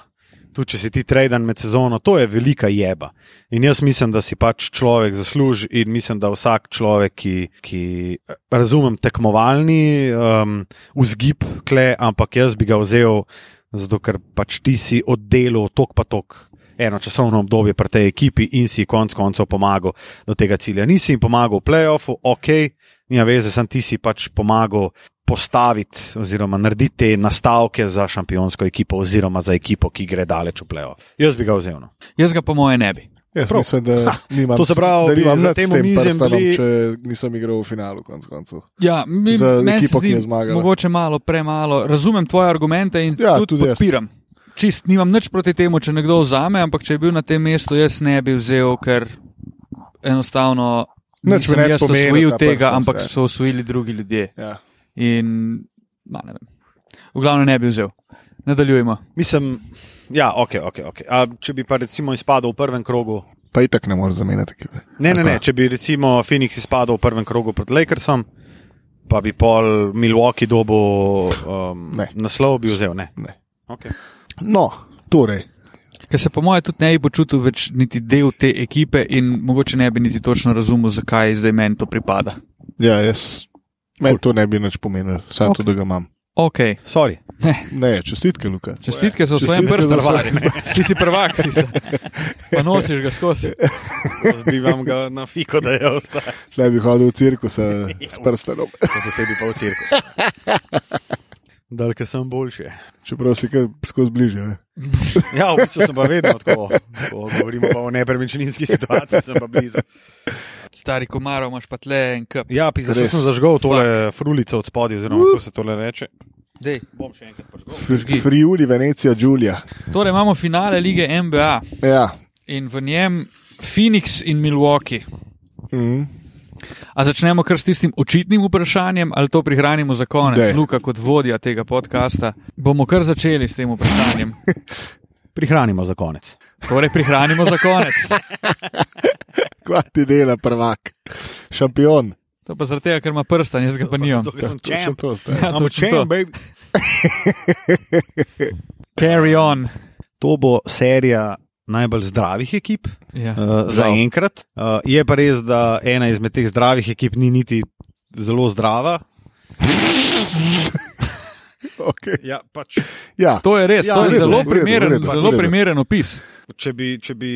A: Tudi če si ti traden med sezono, to je velika jeba. In jaz mislim, da si pač človek zasluži, in mislim, da vsak človek, ki, ki eh, razumem tekmovalni um, vzgib, kle, ampak jaz bi ga vzel, zato ker pač ti si oddelal tok pa tok. Eno časovno obdobje pri tej ekipi in si konec koncev pomagal do tega cilja. Nisi jim pomagal v playoffu, ok, nima veze, sem ti si pač pomagal postaviti oziroma narediti te nastavke za šampionsko ekipo oziroma za ekipo, ki gre daleč v playoff. Jaz bi ga vzel. No.
C: Jaz ga po moje ne bi.
B: Jaz
A: Prav. Ah,
B: mislim, da nimam,
A: to se pravi,
B: da
A: bi
B: nimam
A: za
B: nad
A: tem
B: tem bili...
A: omizjem
B: prstanom,
A: bili-
B: če nisem igral v finalu. Konc koncev.
C: Ja, mi,
B: Za
C: meni se
B: ekipo, ki
C: zdi
B: je zmagala.
C: Mogoče malo premalo. Razumem tvoje argumente in
B: Ja,
C: ja, tudi,
B: tudi
C: tudi
B: jaz.
C: podpiram. Čist nimam nič proti temu, če nekdo vzame, ampak če je bil na tem mestu, jaz ne bi vzel, ker enostavno
B: Nič mi
C: nisem
B: ne
C: jaz
B: pomeni
C: osvojil
B: ta
C: tega,
B: prstnost,
C: ampak
B: ja.
C: so osvojili drugi ljudje.
B: Ja.
C: In, ma, ne vem. V glavnem ne bi vzel. Nadaljujemo.
A: Mislim, ja, ok, ok. okay. A, če bi pa recimo izpadel v prvem krogu,
B: Pa itak ne moreš zamenjati. ekipe.
A: Ne, ne,
B: Tako.
A: ne, če bi recimo Phoenix izpadel v prvem krogu proti Lakersom, pa bi pol Milwaukee dobo um,
B: Ne.
A: naslov bi vzel. Ne.
B: Ne.
A: Okay.
B: No, torej,
C: Ker se po mojem tudi ne bi počutil več niti del te ekipe in mogoče ne bi niti točno razumel, zakaj zdaj meni to pripada.
B: ja, jaz, meni to ne bi nič pomenilo, samo okay. to, da ga imam.
C: Ok,
A: Sorry.
B: Ne, čestitke, Luka.
C: čestitke so v svojem
B: Čestitke
C: prstu,
B: za svoj
C: ti si prvak, ti si- pa nosiš ga skozi.
A: Bi vam ga na fiko dajal, da
B: Ne bi hodil v cirkus
A: Ja.
B: eh, s prstanom.
A: se bi pa v cirkus. Dalke sem boljši.
B: Čeprav si kar skozi bližje. ne.
A: Ja, v bistvu sem pa vedno tako. Ko govorimo pa o nepremičninski situaciji, sem pa blizu.
C: Stari komarov imaš pa tle en kup.
A: Ja, pisa,
B: Res.
A: sem zažgal tole frulico od spodaj, oziroma kako se tole reče.
C: Dej.
A: Bom še enkrat požgal.
C: Prižgi.
B: Friuli, Venecija, Giulia.
C: Torej imamo finale lige NBA
B: Ja.
C: in v njem Phoenix in Milwaukee.
B: Mm.
C: A začnemo kar s tistim očitnim vprašanjem, ali to prihranimo za konec,
B: Daj.
C: Dej. Luka kot vodja tega podcasta. Bomo kar začeli s tem vprašanjem.
A: Prihranimo za konec.
C: Torej, prihranimo za konec.
B: Kva ti dela prvak, šampion.
C: To pa zaradi tega, ker ima prstan, jaz ga pa nimam.
A: Dokler sem
B: Točno
A: čem.
B: to zdaj.
C: Ja,
A: Ampak
C: točno
A: čem,
C: to.
A: baby.
C: Carry on.
A: To bo serija najbolj zdravih ekip
C: Ja.
A: uh, za
C: Žal.
A: enkrat. Uh, je pa res, da ena izmed teh zdravih ekip ni niti zelo zdrava.
B: Okay.
A: Ja, pač,
B: Ja,
C: To je res,
A: Ja,
C: ja, to
A: v
C: je
A: redu,
C: zelo
B: v redu, v redu,
C: primeren,
B: v redu.
C: zelo primeren opis.
A: če, bi, če bi,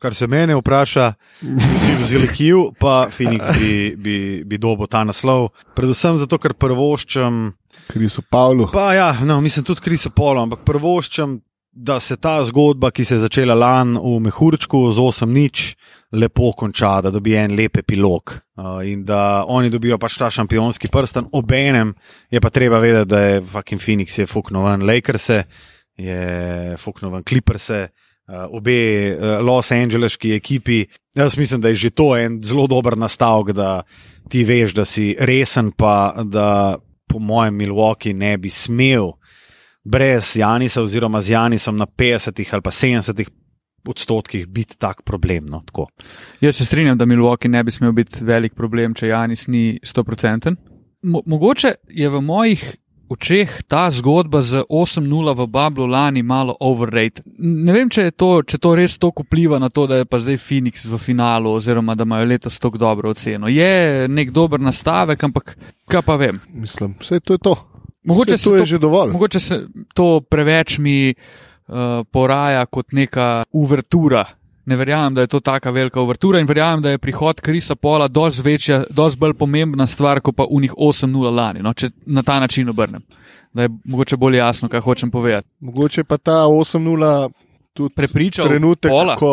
A: kar se mene vpraša, vsi vzeli Kijev, pa Phoenix bi, bi, bi dobil ta naslov. Predvsem zato, ker prvoščam.
B: Krisu Pavlu.
A: Pa ja, no, mislim tudi Krisa Polo, ampak prvoščam, da se ta zgodba, ki se je začela lani v Mehurčku z 8 nič, lepo konča, da dobi en lep epilog uh, in da oni dobijo pač ta šampionski prsten. Obenem je pa treba vedeti, da je fucking Phoenix je fuknovan Lakerse, je fuknovan Clipperse. Uh, obe uh, Los Angeleski ekipi, jaz mislim, da je že to en zelo dober nastavek, da ti veš, da si resen, pa da po mojem Milwaukee ne bi smel brez Janisa oziroma z Janisom na 50 ali pa 70 odstotkih biti tak problem. No, tako.
C: Jaz se strinjam, da Milwaukee ne bi smel biti velik problem, če Janis ni 100%. mo mogoče je v mojih očeh ta zgodba z 8-0 v Bablu lani malo overrated. Ne vem, če, to, če to res toliko vpliva na to, da je pa zdaj Phoenix v finalu, oziroma da imajo letos tako dobro oceno. Je nek dober nastavek, ampak kaj pa vem.
B: Mislim, vse to je to. Mogoče
C: Mogoče se
B: to je
C: to-
B: že dovolj.
C: Mogoče se to preveč mi uh, poraja kot neka uvertura. Ne verjamem, da je to tako velika uvertura in verjamem, da je prihod Krisa Pola dosti večja, dosti bolj pomembna stvar, kot pa unih 8-0 lani. No, če na ta način obrnem, da je mogoče bolj jasno, kaj hočem povedati.
B: Mogoče pa ta 8-0 tudi
C: Prepričal
B: trenutek,
C: Paula?
B: ko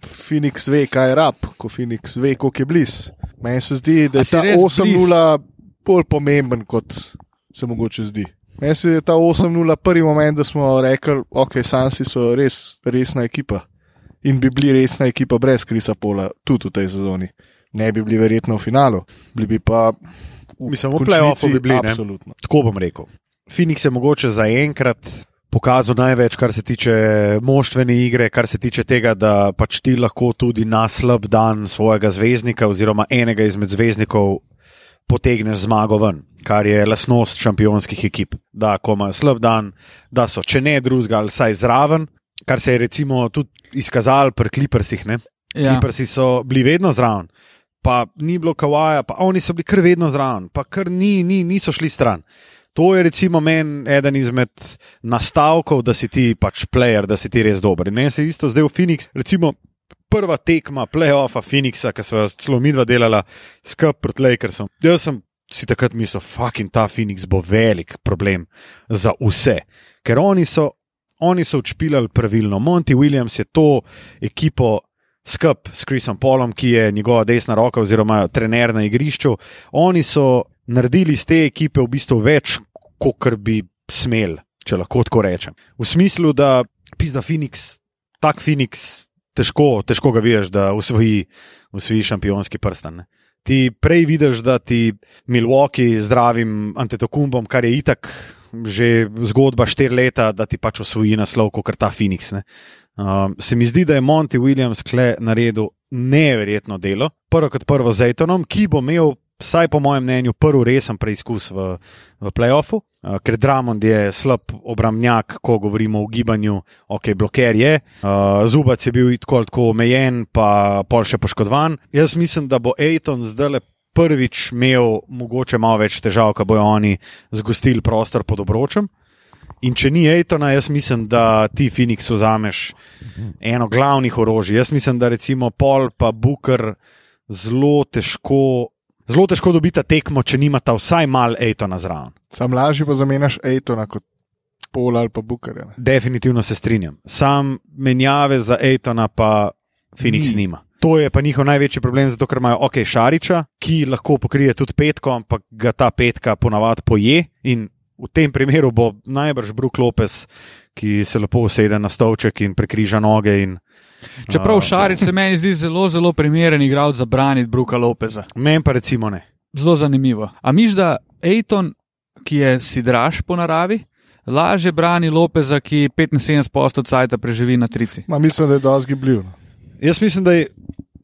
B: Phoenix ve, kaj je rab, ko Phoenix ve, koliko je blizu. Meni se zdi, da je
C: A si
B: ta
C: res
B: 8-0 bolj pomemben, kot se mogoče zdi. Meni se je ta 8-0 prvi moment, da smo rekli, ok, Sansi so res resna ekipa. In bi bili resna ekipa brez Krisa Pola, tudi v tej sezoni. Ne bi bili verjetno v finalu, bili bi pa. v
A: Mislim, v
B: končnici
A: play-offu bi bili, ne?
B: Absolutno.
A: Tako bom rekel. Phoenix je mogoče zaenkrat pokazal največ, kar se tiče moštvene igre, kar se tiče tega, da pač ti lahko tudi na slab dan svojega zvezdnika oziroma enega izmed zvezdnikov potegneš zmago ven, kar je lasnost šampionskih ekip. Da, ko ima slab dan, da so, če ne drugega, ali vsaj zraven, kar se je recimo tudi izkazalo pri Clippersih. Ne? Ja.
C: Ja.
A: Kliprsi so bili vedno zraven, pa ni bilo kawaja, pa oni so bili kar vedno zraven, pa kar ni, ni, niso šli stran. To je recimo meni eden izmed nastavkov, da si ti pač player, da si ti res dober. In meni se je isto zdaj v Phoenix, recimo prva tekma playoffa Phoenixa, ki smo jo celo midva delala skupaj proti Lakersom. Jaz sem si takrat mislil, fucking ta Phoenix bo velik problem za vse, ker oni so, oni so učpilali pravilno. Monty Williams je to ekipo skup s Chrisom Polom, ki je njegova desna roka oziroma trener na igrišču. Oni so naredili iz te ekipe v bistvu več, kot bi smel, če lahko tako rečem. V smislu, da pizda Phoenix, tak Phoenix, težko, težko ga vidiš, da usvoji, usvoji šampionski prsten. Ne. Ti prej vidiš, da ti Milwaukee z zdravim antetokumbom, kar je itak že zgodba štiri leta, da ti pač osvoji naslov, kot ta Phoenix. Ne. Um, se mi zdi, da je Monty Williams kle naredil neverjetno delo. Prvo kot prvo z Daytonom, ki bo imel, vsaj po mojem mnenju, prvi resen preizkus v, v playoffu, uh, ker Dramond je slab obramnjak, ko govorimo o gibanju, ok, bloker je, uh, zubac je bil tako ali tako omejen, pa pol še poškodovan. Jaz mislim, da bo Dayton zdaj le. Prvič imel mogoče malo več težav, ko bojo oni zgostili prostor pod obročem. In če ni Aitona, jaz mislim, da ti Phoenix vzameš eno glavnih orožij. Jaz mislim, da recimo Pol pa Booker zelo težko, zelo težko dobita tekmo, če nimata vsaj mal Aitona zraven.
B: Sam lažje pa zamenjaš Aitona kot Pola ali pa Bukarja. ne.
A: Definitivno se strinjam. Sam menjave za Aitona pa Phoenix
C: Ni.
A: ni. nima. To je pa njihov največji problem, zato ker imajo OK Šariča, ki lahko pokrije tudi petko, ampak ga ta petka ponavadi poje. In v tem primeru bo najbrž Brook Lopes, ki se lepo usede na stolček in prekriža noge. In, uh,
C: Čeprav
A: a,
C: Šarič se meni zdi zelo, zelo primeren igralec za braniti Bruka Lopeza.
A: Meni pa recimo ne.
C: Zelo zanimivo. A miš, da Ejton, ki je sidraž po naravi, lažje brani Lopeza, ki 75% cajta preživi na trici.
B: Ma, mislim, da je dosti gibljiv. no.
A: Jaz mislim, da je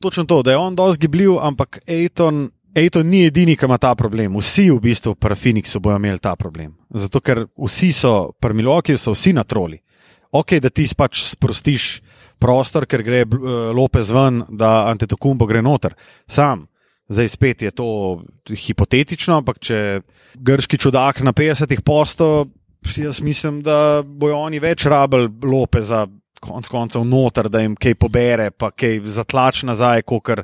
A: točno to, da je on dosti gibljiv, ampak Aiton, Aiton ni edini, ki ima ta problem. Vsi v bistvu pri Phoenixu bodo imeli ta problem. Zato ker vsi so, pri Milwaukee so vsi na troli. Ok, da ti pač sprostiš prostor, ker gre eh, Lopez ven, da Antetokumbo gre noter. Sam. Zdaj spet je to hipotetično, ampak če grški čudak na 50 posto, jaz mislim, da bojo oni več rabili lope za konc koncev noter, da jim kaj pobere, pa kaj zatlač nazaj, kot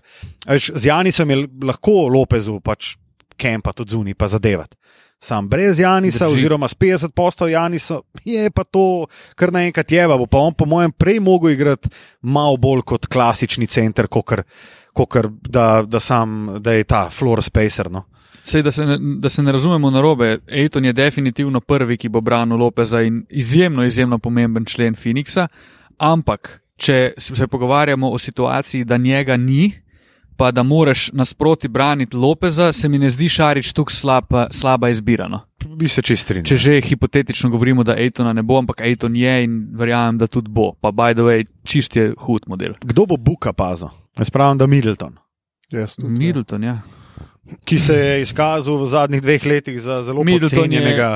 A: z Janisom je lahko Lopezu pač kempa tudi zunaj, pa zadevati. Sam brez Janisa,
C: Drži.
A: Drži. oziroma s 50 postov Janisa, je pa to kar naenkrat jeva. Bo pa on, po mojem, prej mogel igrati malo bolj kot klasični center, kot da, da, sam- da je ta floor spacer. No.
C: Sej, da, se ne, da se ne razumemo na robe, Ejton je definitivno prvi, ki bo branil Lopeza in izjemno, izjemno pomemben člen Phoenixa, ampak če s- se pogovarjamo o situaciji, da njega ni, pa da moraš nasproti braniti Lopeza, se mi ne zdi Šarič tukaj slaba, slaba izbira. No.
A: Bi se čistili.
C: Če že hipotetično govorimo, da Aitona ne bo, ampak Aiton je in verjamem, da tudi bo. Pa by the way, čist je hud model.
A: Kdo bo Buka pazil? Jaz pravim, da Middleton.
B: Jaz tudi, ja.
C: Middleton, ja.
A: ki se je izkazal v zadnjih dveh letih za zelo
C: Middleton je
A: podcenjenega.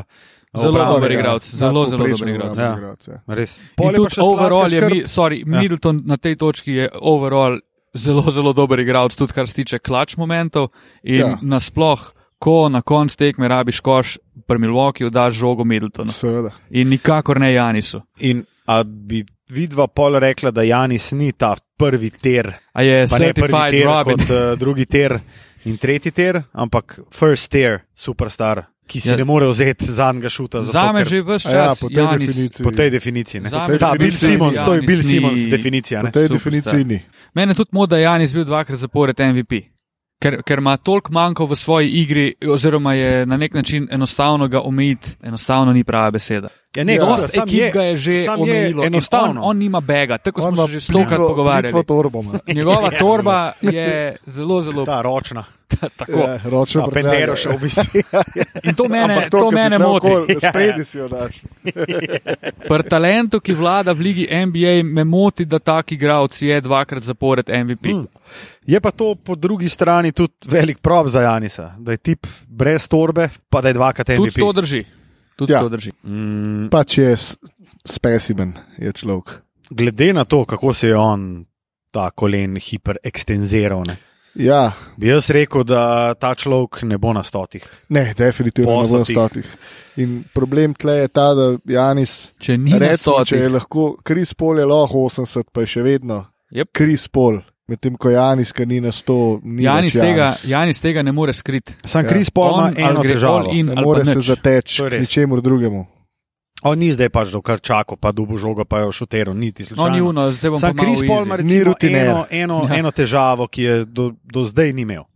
C: zelo
A: obrambnega.
C: dober igralec, zelo, zelo dober igralec.
A: Ja.
B: igralec. Ja.
A: Res.
C: In
A: Pol je pa
C: tudi
A: še
C: overall
A: Zlatka
C: je,
A: Skrb.
C: mi, sorry,
A: Ja.
C: Middleton na tej točki je overall zelo, zelo dober igralec, tudi kar se tiče klač momentov in
B: Ja.
C: ja. nasploh. Ko na koncu tekme rabiš koš, pri Milwaukeeju daš žogo Middletonu
B: No, Seveda.
C: in nikakor ne Janisu.
A: In a bi vidva pol rekla, da Janis ni ta prvi ter,
C: A je
A: pa ne prvi
C: certified
A: ter
C: Robin.
A: kot uh, drugi ter in tretji ter, ampak first ter, superstar, ki si
C: Ja.
A: ja. ne more vzeti zadnjega šuta. zato,
C: Zame
A: ker
C: že vse
B: A Ja,
C: čas
B: po tej
C: Janis.
B: definiciji.
A: Po tej definiciji. ne.
C: Zame
A: Ta
B: že
A: Bill
B: Janis
A: Simons, to je
C: ni-
A: Bill Simons definicija.
B: Po
A: ne.
B: tej
C: Superstar.
B: definiciji ni.
C: Mene tudi moda Janis bil dvakrat zapored MVP. Ker, ker ima toliko manjkov v svoji igri, oziroma je na nek način enostavno ga omejiti, enostavno ni prava beseda.
A: Ja, ne,
B: Ja.
A: dobro,
C: Dost
A: sam
C: ekip
A: je-
C: ga je že
A: sam je
C: omejilo. in
A: Enostavno.
C: On, on nima bega, tako
B: On
C: smo
B: ima
C: se že stokrat
B: plitvo-
C: pogovarjali.
B: plitvo torbo ima.
C: Njegova torba je zelo, zelo
A: Ta ročna,
C: tako.
B: Ja, Ročno
A: ta pendero še v bistvu.
C: ja. In to mene, to, to mene moti.
B: Spredi si jo daš.
C: Pri talentu, ki vlada v ligi NBA, me moti, da tak igralec je dvakrat zapored MVP. Mm.
A: Je pa to po drugi strani tudi velik prop za Janisa, da je tip brez torbe, pa da je dvakrat
C: Tudi
A: MVP.
C: to drži. Tudi
B: Ja.
C: ja. to drži.
A: Mm,
B: Pač je s- specimen, je človek.
A: glede na to, kako se je on ta kolen hiperekstenziral, ne,
B: Ja,
A: bi jaz rekel, da ta človek ne bo na stotih.
B: ne, definitivno ne bo na stotih. In problem tle je ta, da Janis,
C: Če ni
B: recimo, če je
C: recimo.
B: lahko, Kris Pol je lahko 80, pa je še vedno
C: Yep.
B: Kris Pol. Medtem ko Janis, ki ni na 100, ni
C: Janis
B: več
C: tega,
B: Janis.
C: Janis tega ne more skriti.
A: Sam
B: Ja.
A: ja. Kris Paul
C: On
A: ima
C: ali
A: eno
C: gre
A: težavo.
C: all in-
B: Ne
C: ali pa
B: more se
C: nič.
B: zateči
A: To je res.
B: ničemur drugemu.
A: On ni zdaj pač do kar čakal, pa dubo žogo, pa jo šuteril, niti
C: No, ni
A: slučajno.
C: uno, zdaj bom
A: Sam
C: pa
A: Kris Paul ima
B: Ni
A: recimo
B: rutiner.
A: eno, eno,
C: Ja.
A: ja. eno težavo, ki je do, do zdaj ni imel.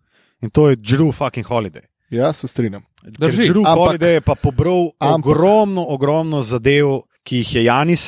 A: In to je Drew fucking Holiday.
B: Ja, se strinjam.
C: Drži.
A: Drži,
B: Ampak-
A: Holiday je pa pobral
B: Ampak-
A: ogromno, ogromno zadev, ki jih je Janis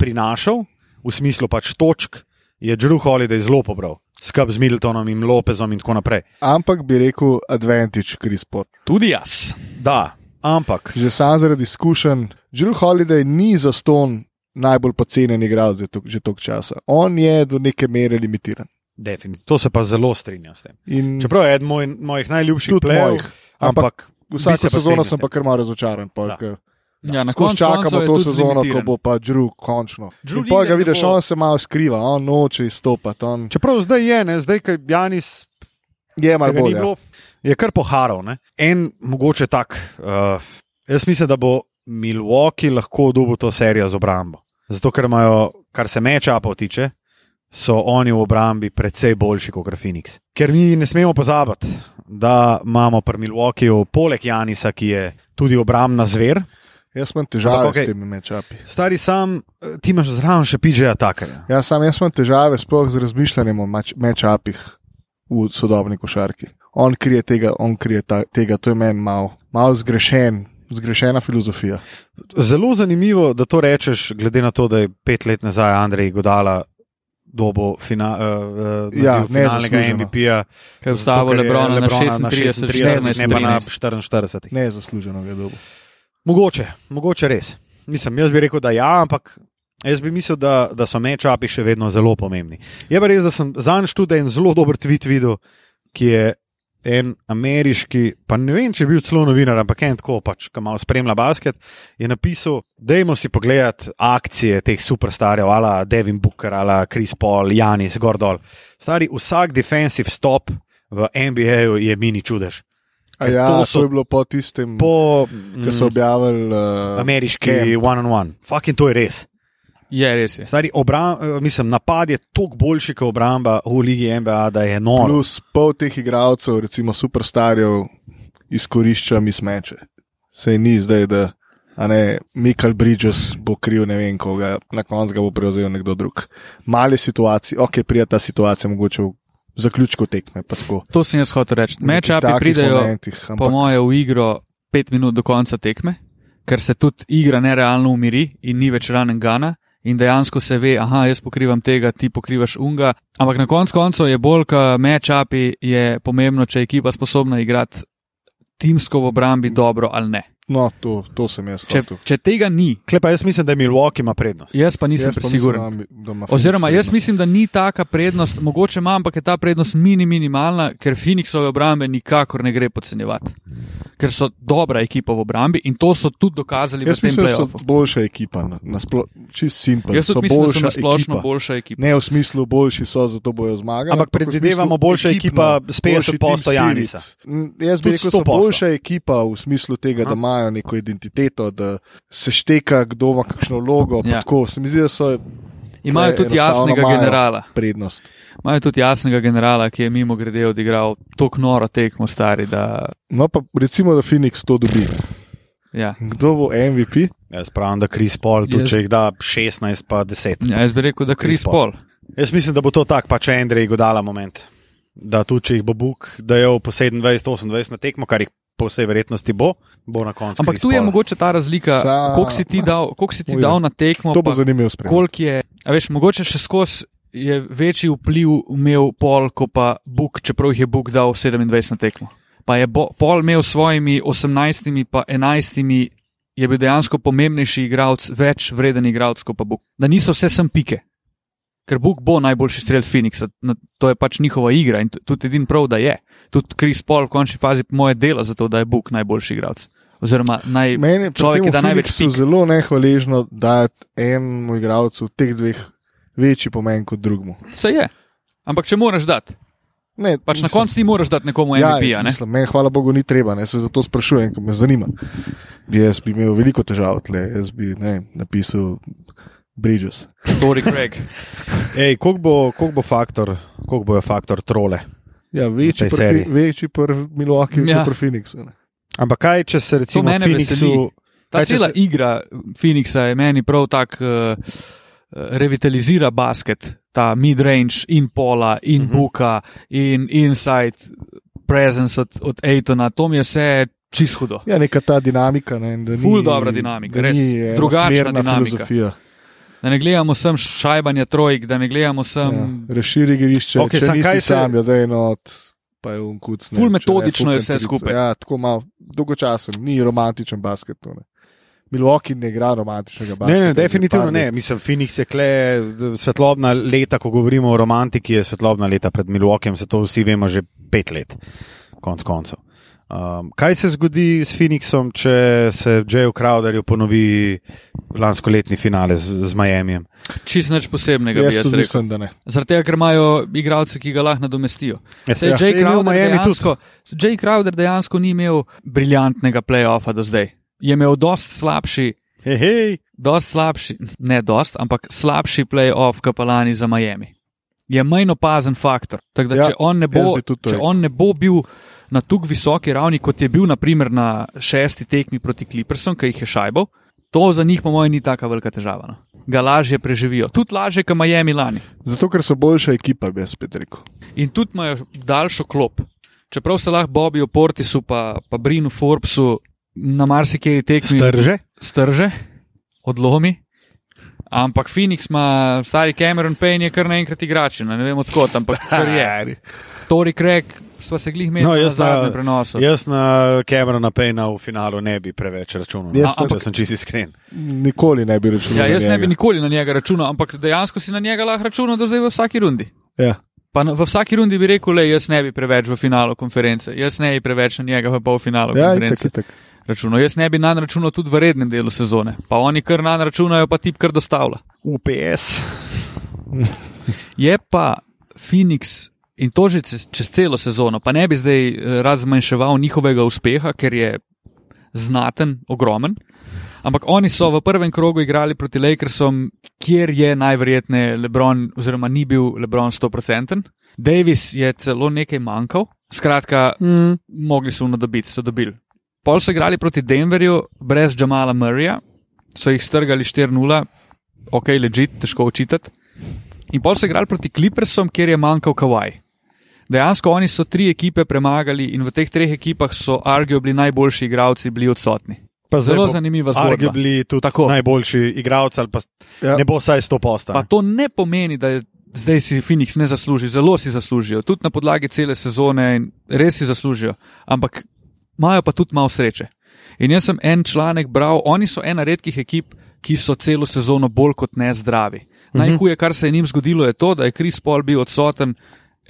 A: prinašal, v smislu pač točk, je Drew Holiday zelo pobral, skup z Middletonom in Lopezom in tako naprej.
B: Ampak bi rekel, advantage Kris Pol.
C: Tudi jaz.
A: Da, ampak
B: že sam zaradi izkušenj. Drew Holiday ni za ston najbolj pocenjen igralec že tok- že toliko časa. On je do neke mere limitiran.
A: definitivno, to se pa zelo strinjam s tem.
B: In
A: Čeprav je eden moj, mojih najljubših
B: Tudi
A: plejev,
B: mojih,
A: ampak, ampak bi se
B: vsako
A: pa
B: sezono
A: strinjal s
B: sem
A: tem.
B: pa kar malo razočaran.
A: Da.
C: Ja, na
B: Ko
C: koncu koncev
B: čakamo
C: je
B: to
C: tudi
B: sezono, ko
C: zlimitiran.
B: bo pa Drew končno.
C: Drew
B: In pa
C: Liga
B: ga vidiš,
C: ne bo-
B: on se malo skriva, on noče izstopati, on
A: Čeprav zdaj je, ne, zdaj, ko Janis
B: je malo
A: Ker ga ni
B: bolj. Ja.
A: bilo, Je kar poharal. Ne? En mogoče tak. Uh, jaz mislim, da bo Milwaukee lahko dobil to serijo z obrambo. Zato, ker imajo, kar se mečapov tiče, so oni v obrambi precej boljši kot Phoenix. Ker mi ne smemo pozabiti, da imamo pri Milwaukeeju poleg Janisa, ki je tudi obrambna zver,
B: Jaz imam težave
A: Ampak okej.
B: s temi mečapi.
A: stari sam, eh, ti imaš zraven še PJ-ja takarja.
B: Ja, sam jaz imam težave sploh z razmišljanjem o mač- match-upih v sodobni košarki. On krije tega, on krije ta, tega, to je meni malo mal zgrešen, zgrešena filozofija.
A: Zelo zanimivo, da to rečeš, glede na to, da je pet let nazaj Andrej Godala dobo fina, uh,
B: Ja,
A: ja, finalnega
B: nezasluženo.
A: MVP-ja.
C: Ker je ustavil Lebrona na 36,
A: 36, ne pa na
C: 14.
A: 44.
B: Ne zasluženo je dobo.
A: Mogoče, mogoče res. Mislim, jaz bi rekel, da ja, ampak jaz bi mislil, da, da so mečapi še vedno zelo pomembni. Je pa res, da sem zadnjič tudi en zelo dober tweet videl, ki je en ameriški, pa ne vem, če je bil celo novinar, ampak en tako pač, ki malo spremlja basket, je napisal, dajmo si pogledati akcije teh superstarjev, ala Devin Booker, ala Chris Paul, Janis, Gordol. Stari, vsak defensive stop v NBA-ju je mini čudež.
B: A
A: Ker
B: ja,
A: to
B: to,
A: so-
B: to je bilo po tistem, po,
A: Po, Mm.
B: ki so objavili
C: Eh,
B: uh,
A: ameriški one-on-one. Fucking to je res.
C: Je res. Je.
A: Stari, obram, eh, mislim, napad je toliko boljši kot obramba v Ligi NBA, da je noro. Plus.
B: Plus pol teh igralcev, recimo superstarjev, izkorišča mismeče. Sej ni zdaj, da a ne, Michael Bridges bo kriv, ne vem koga, na koncu ga bo prevzel nekdo drug. Male situacije, ok, prija ta situacija, mogoče v zaključku tekme. pa tako.
C: To sem jaz hotel reči.
B: V nekih
C: Mečapi
B: takih
C: pridejo,
B: momentih,
C: po
B: ampak,
C: moje, v igro pet minut do konca tekme, ker se tudi igra nerealno umiri in ni več ranen Gana. In dejansko se ve, aha, jaz pokrivam tega, ti pokrivaš unga. Ampak na koncu koncev je bolj, kot mečapi, je pomembno, če je ekipa sposobna igrati timsko v obrambi dobro ali ne.
B: No, to, to sem jaz.
C: Če,
B: hotel.
C: če tega ni,
A: Klepa, jaz mislim, da je Milwaukee ima prednost.
C: jaz pa nisem
B: Jaz pa mislim, da
C: prepričan.
B: ima- da ima Phoenix
C: Oziroma, jaz
B: prednost.
C: mislim, da ni taka prednost, mogoče ima, ampak je ta prednost mini minimalna, ker Phoenixove obrambe nikakor ne gre podcenjevati. Ker so dobra ekipa v obrambi in to so tudi dokazali
B: Jaz
C: v tem
B: mislim, da so
C: playoffu.
B: boljša ekipa, na- nasploh, čist simpel.
C: Jaz
B: so
C: tudi mislim, da so
B: boljša
C: na splošno
B: ekipa.
C: boljša ekipa.
B: Ne v smislu, boljši so, zato bojo zmagali.
A: Ampak
B: v smislu
A: predvidevamo boljša ekipa
B: ekipno,
A: s 50%
B: boljši team
A: Janisa.
B: spirit. Mm, Jaz bi
A: Tudi
B: rekel, da so
A: 100%.
B: boljša ekipa v smislu tega, da imajo neko identiteto, da se šteka, kdo ima kakšno vlogo.
C: Ja.
B: Ja. Tako se mi zdi, da so
C: Imajo tudi
B: enostavno
C: jasnega
B: imajo
C: generala.
B: prednost.
C: Imajo tudi jasnega generala, ki je mimo grede odigral tako noro tekmo, stari. Da,
B: No, pa recimo, da Phoenix to dobi.
C: ja.
B: Kdo bo MVP?
A: Jaz pravim, da Kris Paul, tudi
C: Jaz-
A: če jih da 16, pa 10.
C: Ja, jaz bi rekel, da Kris
A: Chris Paul.
C: Pol.
A: Jaz mislim, da bo to tako, pa če Andrej go dala moment. Da tudi če jih bo Bog dajal po 27-28 na tekmo, kar jih po vsej verjetnosti bo, bo na koncu.
C: Ampak
A: Chris
C: tu je
A: Paul.
C: mogoče ta razlika,
B: Sa-
C: koliko si ti dal, koliko si ti
B: Ujde.
C: dal na tekmo.
B: To bo
C: No, pa
B: zanimivo spremljati.
C: Koliko je, a veš, mogoče še skozi je večji vpliv imel Pol, kot pa Bog, čeprav jih je Bog dal 27 na tekmo. Pa je bo, Pol imel s svojimi 18, pa 11, je bil dejansko pomembnejši igralec, več vreden igralec kot pa Bog. Da niso vse sem pike. Ker Bog bo najboljši strelec Phoenixa, na- to je pač njihova igra in tu- tudi edin prav, da je. Tudi Kris Pol v končni fazi po moje dela za to, da je Bog najboljši igralec. Oziroma, naj,
B: Meni je
C: človek, ki da največ
B: Phoenixu
C: pik.
B: zelo nehvaležno dati enemu igralcu teh dveh večji pomen kot drugemu.
C: se je. Ampak če moraš dati.
B: Ne,
C: Pač na
B: mislim-
C: koncu ti moraš dati nekomu MVP. Ja, ne?
B: mislim, meni, hvala Bogu, ni treba, ne, se zato sprašujem, ker me zanima. Jaz bi imel veliko težav, tle, jaz bi ne, vem, napisal Bridges.
C: Tory Craig.
A: Ej, koliko bo, koliko bo faktor, koliko bojo faktor trole?
B: Ja,
A: večji V tej
B: večji
A: pri Fi- seriji.
B: pri Milwaukee,
C: Ja.
B: ja.
C: kot
B: kot pri Phoenixu.
A: Ampak kaj, če se recimo
C: mene veseli.
A: Phoenixu,
C: Ta
A: Kaj, če
C: cela se...
A: se-
C: igra Phoenixa je meni prav tako uh, revitalizira basket, ta midrange in pola, in uh -huh. buka, in inside presence od, od Aitona. To mi je vse čist hudo.
B: Ja, neka ta dinamika. Ne, da ni-
C: Ful dobra dinamika,
B: da
C: res.
B: ni ena
C: Drugačna
B: smerna
C: dinamika.
B: filozofija.
C: Da ne gledamo sem šajbanja trojk, da ne gledamo sem.
B: Ja.
C: Ja.
B: Razširi igrišče,
A: Okej,
B: okay, če
A: samo
B: nisi
A: kaj
B: se...
A: se-
B: sam, ja, da je not. pa je on kuc, ne,
C: Ful
B: če ne,
C: metodično
B: ful
C: je vse
B: kantarica.
C: skupaj.
B: Ja, tako malo dolgočasen, ni romantičen basket. to Ne. Milwaukee ne igra romantičnega
A: Ne,
B: basketa.
A: ne,
B: že par
A: definitivno
B: let.
A: ne. Mislim, Phoenix je kle svetlobna leta, ko govorimo o romantiki, je svetlobna leta pred Milwaukeeom, se to vsi vemo že pet let, konc koncev. Um, kaj se zgodi s Phoenixom, če se Jay Crowderju ponovi lansko letni finale z, z Miamijem?
C: Čist nič posebnega, bi
B: Jaz
C: jaz
B: tudi
C: rekel.
B: mislim, da ne.
C: Zaradi tega, ker imajo igralce, ki ga lahko nadomestijo.
A: Ja,
C: Saj
A: saj- saj je
C: Jay,
A: imel
C: Crowder
A: Miami tudi.
C: dejansko, Jay Crowder dejansko ni imel briljantnega playoffa do zdaj. Je imel dosti slabši,
A: Hej, hej.
C: dost slabši, ne dost, ampak slabši playoff kapelani za Miami. Je manj opazen faktor. Tako da,
B: Ja,
C: ja, če, on ne bo,
B: jaz bi tudi to
C: če
B: rekel.
C: on ne bo bil na tako visoki ravni, kot je bil naprimer na šesti tekmi proti Clippersom, ki jih je šajbal, to za njih, po mojem, ni tako velika težava. No. Ga lažje preživijo. Tudi lažje, kot Miami lani.
B: Zato, ker so boljša ekipa, bi jaz spet rekel.
C: in tudi imajo daljšo klop. Čeprav se lahko Bobiju Portisu, pa, pa Brinu Forbesu na marsikeri tekmi
A: Strže?
C: strže, odlomi. Ampak Phoenix ima, stari Cameron Payne je kar naenkrat igrač, ne ne vem odkot, ampak kar je. Tory Craig, sva se glih
A: No,
C: menila no, na
A: jaz na-
C: zadnjem prenosu.
A: Jaz na Camerona Payna v finalu ne bi preveč
C: No,
A: računal. Jaz,
B: Jaz sem-
A: če sem čisto iskren.
B: Nikoli ne bi računal.
C: Ja,
B: na
C: jaz ne bi
B: njega.
C: nikoli na njega računal, ampak dejansko si na njega lahko računal do zdaj v vsaki rundi.
B: Ja.
C: Pa na, v vsaki rundi bi rekel, le jaz ne bi preveč v finalu konference, jaz ne bi preveč na njega v polfinalu
B: Ja,
C: konference.
B: itak, itak.
C: računal. Jaz ne bi na računal tudi v rednem delu sezone, pa oni kar na računajo, pa tip kar dostavlja.
A: UPS.
C: Je pa Phoenix in to že čez, čez celo sezono, pa ne bi zdaj eh, rad zmanjševal njihovega uspeha, ker je znaten, ogromen. Ampak oni so v prvem krogu igrali proti Lakersom, kjer je najverjetneje Lebron, oziroma ni bil Lebron 100%. Davis je celo nekaj manjkal, skratka, mm. mogli so mu dobiti, so dobili. Pol so igrali proti Denverju brez Jamala Murrayja, so jih strgali 4-0, ok, ležit, težko očitati. In pol so igrali proti Clippersom, kjer je manjkal Kawaj. Dejansko oni so tri ekipe premagali in v teh treh ekipah so arguably najboljši igralci bili odsotni.
A: Pa zdaj
C: Zelo
A: bo
C: zanimiva zgodba.
A: Arguably tudi
C: Tako.
A: Tako. najboljši igralec, ali pa
B: Ja.
A: ja. ne bo vsaj 100 posta.
C: Pa to ne pomeni, da je zdaj si Phoenix ne zasluži, zelo si zaslužijo, tudi na podlagi cele sezone in res si zaslužijo, ampak imajo pa tudi malo sreče. In jaz sem en članek bral, oni so ena redkih ekip, ki so celo sezono bolj kot ne zdravi. Najhuje, kar se je njim zgodilo, je to, da je Kris Paul bil odsoten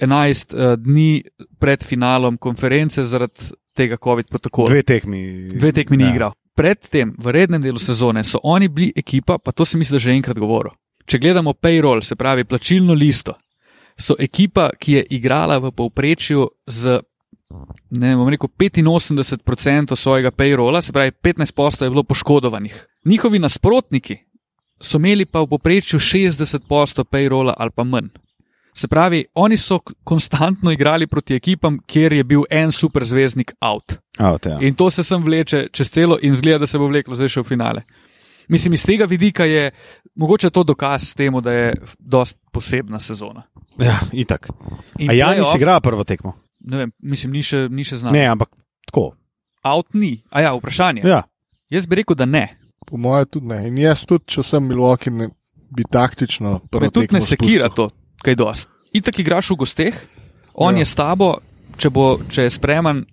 C: 11 eh, dni pred finalom konference zaradi tega COVID protokola
A: Dve tekmi.
C: dve tekmi ni
A: Ja.
C: igral. Predtem, v rednem delu sezone, so oni bili ekipa, pa to sem mislim, da že enkrat govoril. Če gledamo payroll, se pravi plačilno listo, so ekipa, ki je igrala v povprečju z ne vem, bom rekel 85% svojega payrolla, se pravi 15% je bilo poškodovanih. Njihovi nasprotniki so imeli pa v povprečju 60% payrolla ali pa manj. Se pravi, oni so k- konstantno igrali proti ekipam, kjer je bil en superzvezdnik out.
A: Out, ja.
C: In to se sem vleče čez celo in zgleda, da se bo vleklo zdaj še v finale. Mislim, iz tega vidika je mogoče to dokaz temu, da je dost posebna sezona.
A: ja, itak.
C: In
A: A Janis
C: playoff-
A: igra prvo tekmo?
C: Ne vem, mislim, ni še, ni še znano.
A: Ne, ampak tako.
C: Out ni. A ja, vprašanje.
A: Ja.
C: Jaz bi rekel, da ne.
B: Po mojem, tudi ne. In jaz tudi, če sem Milwaukee, ne, bi taktično. prvo
A: Torej,
C: Me tudi
B: tekmo
C: ne sekira
B: spustil.
C: to, kaj dost. Itak igraš v gosteh, on
B: Ja.
C: ja. je s tabo, če, bo, če je spreman,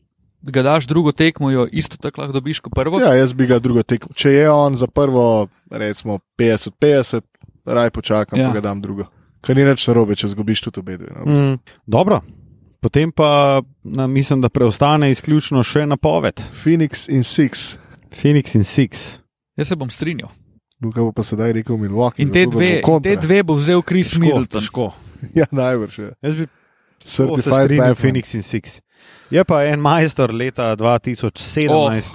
C: ga daš drugo tekmo, jo isto tako lahko dobiš kot prvo.
B: Ja, jaz bi ga drugo tekmo. Če je on za prvo, recimo 50-50, raj počakam,
C: Ja.
B: ja. pa ga dam drugo. Kar ni več narobe, če zgubiš tudi obe. dve, No. Mm.
A: Mm, dobro. Potem pa na, mislim, da preostane izključno še napoved.
B: Phoenix in Six,
A: Phoenix in Six.
C: Jaz se bom strinjal.
B: Luka bo pa sedaj rekel Milwaukee.
C: In te
B: zato, da bo
C: dve, in
B: kontra.
C: te dve bo vzel Kris
A: Težko,
C: Middleton.
A: težko.
B: Ja, najbrž je.
A: Jaz bi tako se
B: Certified
A: strinjal
B: Batman.
A: Phoenix in Six. Je pa en majster leta 2017 oh,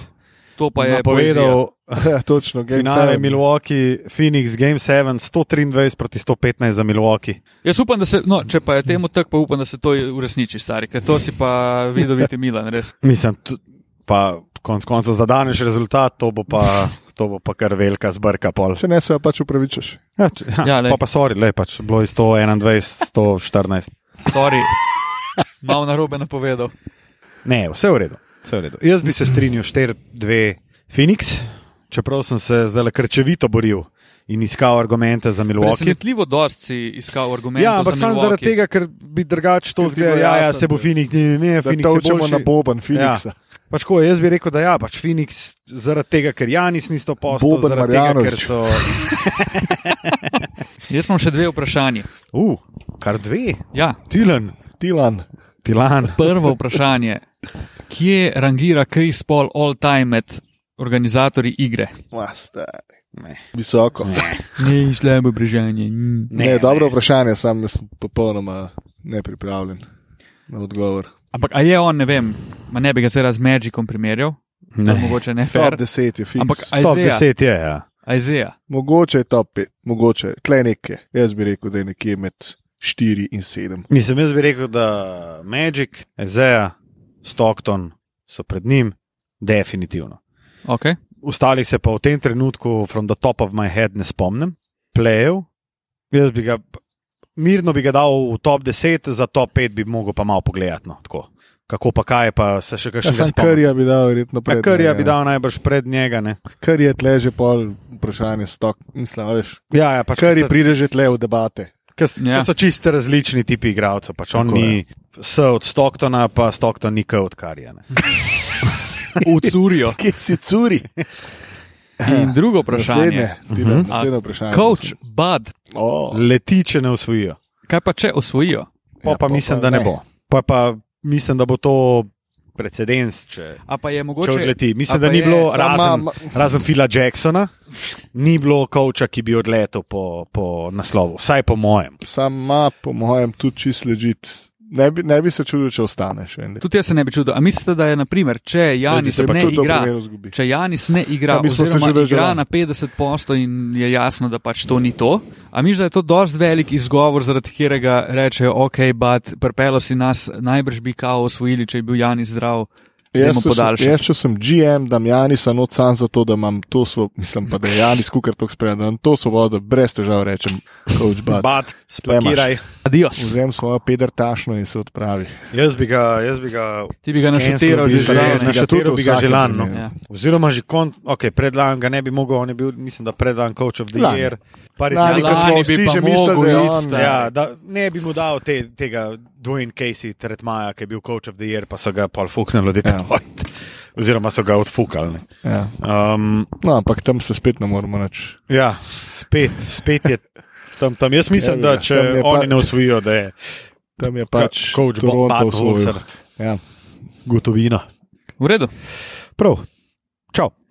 C: To pa je povedal.
A: napovedal
B: Ja, točno, Game
A: finale
B: seven.
A: Milwaukee, Phoenix Game 7, 123 proti 115 za Milwaukee.
C: Jaz upam, da se, no, če pa je temu tako, pa upam, da se to uresniči, stari, ker to si pa videl, vidite, Milan, res.
A: Mislim, tu- pa konc koncev za danes rezultat, to bo pa, to bo pa kar velika zbrka pol.
B: Če ne, se pa pač upravičaš.
A: Ja, če-
C: Ja,
A: ja,
C: lej.
A: pa pa sorry, le pač bilo je 121, 114.
C: Sorry, malo narobe napovedal.
A: Ne, vse v redu. Vse v redu. Jaz bi se strinjal 4-2 Phoenix, čeprav sem se zdaj krčevito boril in iskal argumente za Milwaukee.
C: Presenetljivo dost si iskal argument.
A: Ja, ampak samo zaradi tega, ker bi drugače to
B: Ker bi
A: zgledal.
B: bilo
A: Ja, ja,
B: jasno,
A: se bo
B: da-
A: Phoenix, ne, ne, ne
B: Da
A: Phoenix je
B: točemo
A: boljši.
B: na boben Phoenixa.
A: Pač ko, jaz bi rekel, da ja, pač Phoenix, zaradi tega, ker Janis ni stopil,
B: Boban
A: zaradi tega, ker
B: Marjanovič.
A: so.
C: Jaz imam še dve vprašanje.
A: Uh, kar dve,
C: Ja,
A: Tilan,
B: Ja. Tilan,
A: Tilan.
C: prvo vprašanje. Kje rangira Kris Paul all time med organizatorji igre?
B: Masta.
A: Ne.
B: visoko. Ne,
C: Ne, slabo brežanje.
B: ne, ne, dobro vprašanje, sam sem popolnoma nepripravljen na odgovor.
A: E,
C: Ampak a je on, ne vem, ma ne bi ga zdaj z Magicom primerjal, to je
A: Ne.
C: mogoče ne
B: Top
C: fair.
B: 10 je fiks.
C: Ampak
A: Top
C: Aizeja,
A: 10 je, ja.
C: Aizeja.
B: Mogoče je top 5, mogoče tle nekje. Jaz bi rekel, da je nekje med 4 in 7.
A: Mislim, jaz bi rekel, da Magic, Ezea, Stockton so pred njim, definitivno.
C: Okay.
A: Ostalih se pa v tem trenutku, from the top of my head, ne spomnim, plejev. Jaz bi ga, mirno bi ga dal v top 10, za top 5 bi mogel pa malo pogledati. No, tako. Kako pa kaj, pa se še
B: Ja,
A: kakšen
B: sam Krija bi dal verjetno pred.
A: Ja, Krija
B: njega,
A: bi
B: ja.
A: dal najbrž pred njega. Ne?
B: Kar je tle že pol vprašanje stok, mislim, a veš.
A: Ja, ja, pač,
B: Kar je pride že tle v debate.
A: Ker s-
C: Ja.
A: ker so čisto različni tipi igralcev. Pač on
B: Tako je.
A: ni S od Stocktona, pa Stockton ni K od Karija. ne.
C: Ucurijo.
B: Kje si curi?
C: In drugo vprašanje.
B: Naslednje, Tilan,
A: Mhm.
B: naslednje vprašanje.
C: Coach, bad,
B: Oh.
A: Leti, če ne usvojijo.
C: kaj pa če osvojijo?
A: Pa, ja, pa mislim, da ne bo. Pa, pa mislim, da bo to precedens, če,
C: A pa je
A: če
C: mogoče.
A: odleti.
C: a
A: Mislim,
C: pa
A: da ni
C: je-
A: bilo
B: Samo
A: razen,
B: ma-
A: razen Fila Jacksona, ni bilo koča, ki bi odletel po, po naslovu, vsaj po mojem.
B: Sam ima, po mojem, tudi čist ležit. Ne bi, ne bi se čudil, če ostane še en let.
C: Tudi jaz se ne bi čudil. A mislite, da je, naprimer, če Janis
A: se pa
C: ne
B: čudil, da
C: igra,
B: primeru zgubi.
C: če Janis ne igra,
B: Ja, mi smo se
C: oziroma
B: že
C: igra
B: doživeli.
C: na 50% in je jasno, da pač to ni to, a miš, da je to dosti velik izgovor, zaradi katerega rečejo, ok, bad, prpelo si nas, najbrž bi kao osvojili, če je bil Janis zdrav.
B: Jaz,
C: Dajmo
B: če sem-
C: podaljšati.
B: jaz, če sem GM, da Janis not sam zato, da imam to svobodo, mislim pa, da je Janis kukar tako spremljen, da imam to svobodo, brez težav rečem, coach Bat.
A: Bad, spakiraj.
C: Adios.
B: Vzem svojo pedertašno in se odpravi.
A: Jaz bi ga, jaz bi ga
C: Ti bi ga našutiral že
A: Skenslal bi ga,
C: zdaj.
A: jaz našutiral bi ga že
B: Vsakem
A: lani. no.
B: primeru.
C: Ja.
A: Oziroma, že kon, okay, predlan ga ne bi mogel, on je bil, mislim, da predlan coach of the
B: Lani.
A: year. Pa
B: Lani,
A: recimo,
B: ko smo
C: Lani bi
B: vsi
C: pa
B: že mislili,
C: mogel
B: da je
C: iti,
B: on.
C: stari.
A: Ja, da ne bi mu dal te, tega Dwayne Casey tretmaja, ki je bil coach of the year, pa so ga pol fuknili
C: Ja.
A: od Detroit. Oziroma so ga odfukali. ne.
B: Ja.
A: Um,
B: No, ampak tam se spet ne moremo več.
A: ja, spet, spet je tam. tam. Jaz mislim,
B: Ja,
A: da
B: ja, tam
A: če
B: je pa-
A: oni ne usvojijo, da je
B: Tam je pač
A: coach Bob
B: Toronto
A: Budenholzer.
B: osvojil. Ja.
A: gotovina.
C: V redu.
A: Prav, čau.